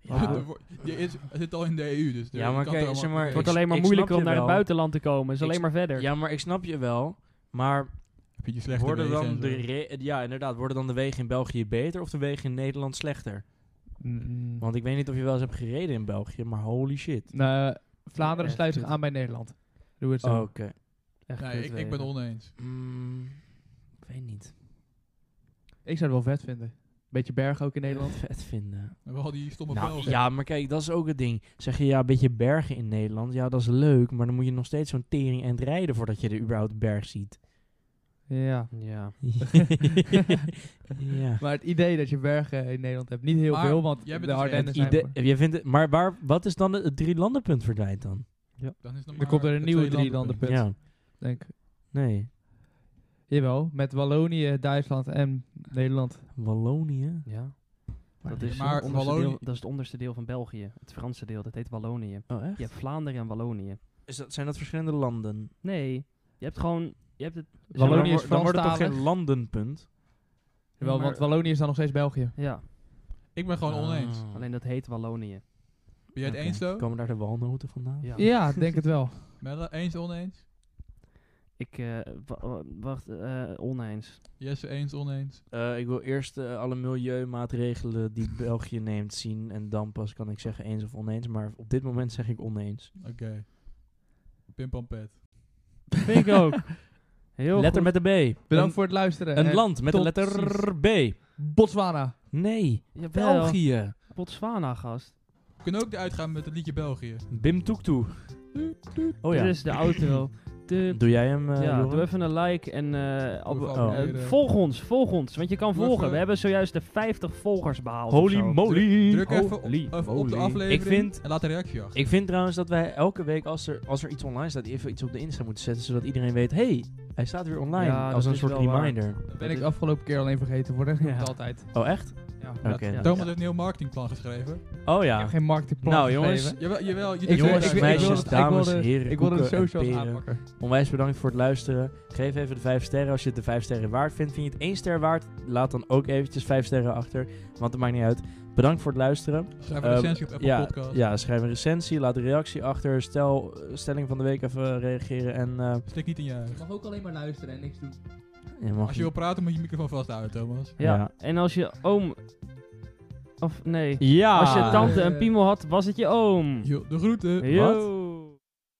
Ja. Er wordt- je is, het zit al in de EU, dus... Ja, maar kijk, zeg maar, het wordt ik- alleen maar ik moeilijker snap om naar je het wel. buitenland te komen. is Ik alleen maar verder. Ja, maar ik snap je wel. Maar Vind je slechte worden wegen dan en zo. de re- ja, inderdaad, worden dan de wegen in België beter of de wegen in Nederland slechter? Mm. Want ik weet niet of je wel eens hebt gereden in België, maar holy shit. Nou, Vlaanderen Echt sluit zich kut. aan bij Nederland. Doe het Oké. zo. Echt Nee, kut eh, ik, ik wegen. ben oneens. Mm, ik weet niet. Ik zou het wel vet vinden. Beetje berg ook in Nederland. Vet vinden. We hadden die stomme Nou, Belgen. ja, maar kijk, dat is ook het ding. Zeg je ja, een beetje bergen in Nederland. Ja, dat is leuk, maar dan moet je nog steeds zo'n tering en rijden voordat je de überhaupt berg ziet. Ja. Ja. ja. Maar het idee dat je bergen in Nederland hebt, niet heel Maar veel, want jij bent de dus Ardennen het zijn... Ide- voor- je vindt het, maar waar, wat is dan het, het drie landenpunt verdwijnt dan? Dan is nog Er komt er een nieuwe drie landenpunt, Ja, denk ik. nee. Jawel, met Wallonië, Duitsland en Nederland. Wallonië? ja. Dat die- is, Maar het onderste deel- Wallonië- dat is het onderste deel van België. Het Franse deel, dat heet Wallonië. Oh, echt? Je hebt Vlaanderen en Wallonië. Is dat, zijn dat verschillende landen? Nee, je hebt gewoon... Je hebt het, Wallonië dan, is wo- dan wordt het toch geen Franstalig. landenpunt? Jawel, maar- want Wallonië is dan nog steeds België. Ja, Ik ben gewoon oneens. Ah. alleen dat heet Wallonië. Ben jij het Oké. eens, zo? Komen daar de walnoten vandaan? Ja. Ja, denk het wel. Melle, eens, oneens? Ik, eh, wa- wa- wacht, eh, oneens. Jesse, eens, oneens? Eh, ik wil eerst eh, alle milieumaatregelen die België neemt zien. En dan pas kan ik zeggen eens of oneens. Maar op dit moment zeg ik oneens. Oké. Pimpampet. Vind ik ook. Heel letter goed. met een B. Bedankt een, voor het luisteren. Een En land met de tot letter B. Botswana. Nee, Jawel, België. Botswana, gast. We kunnen ook eruit gaan met het liedje België. Bim Toektoe. Oh ja. Dit is de outro. De, Doe jij hem, eh, Dus, ja, Joran? doe even een like en eh, ab- Doe Oh. even eh, abonneren. eh, volg ons, volg ons. Want je kan Doe volgen. even- We hebben zojuist de 50 volgers behaald. Holy of zo. moly. Druk even op, Holy even op de moly. aflevering Ik vind, en laat een reactie achter. ik vind trouwens dat wij elke week als er, als er iets online staat, even iets op de Insta moeten zetten. Zodat iedereen weet, hey, hij staat weer online. Ja, als dat een is soort wel waar. reminder. Dat Ben is- ik de afgelopen keer alleen vergeten worden. Ja. Dat altijd. Oh, echt? Ja. Oké. Ja. Thomas heeft een heel marketingplan geschreven. Oh Ik ja. heb geen marketingplan Nou, jongens, geschreven. Jawel, jawel. Je Ik- doet jongens, Jongens, ik- het ik- wel. wil meisjes, het- ik wil dames, de- heren, Ik wilde de koeken en socials peren. aanpakken. Onwijs bedankt voor het luisteren. Geef even de 5 sterren als je het de 5 sterren waard vindt. Vind je het 1 ster waard? Laat dan ook eventjes 5 sterren achter, want het maakt niet uit. Bedankt voor het luisteren. Schrijf een eh, Ehm, recensie op Apple ja, Podcast. ja, schrijf een recensie, laat een reactie achter. Stel, eh, stelling van de week even reageren. En eh, Stik niet in je Je huis. mag ook alleen maar luisteren en niks doen. je mag Als je wil praten moet je microfoon vasthouden, Thomas. Ja. Ja. en als je oom... Of nee. Ja. Als je tante een Eh. piemel had, was het je oom. Hm. Jo, de groeten. Yo.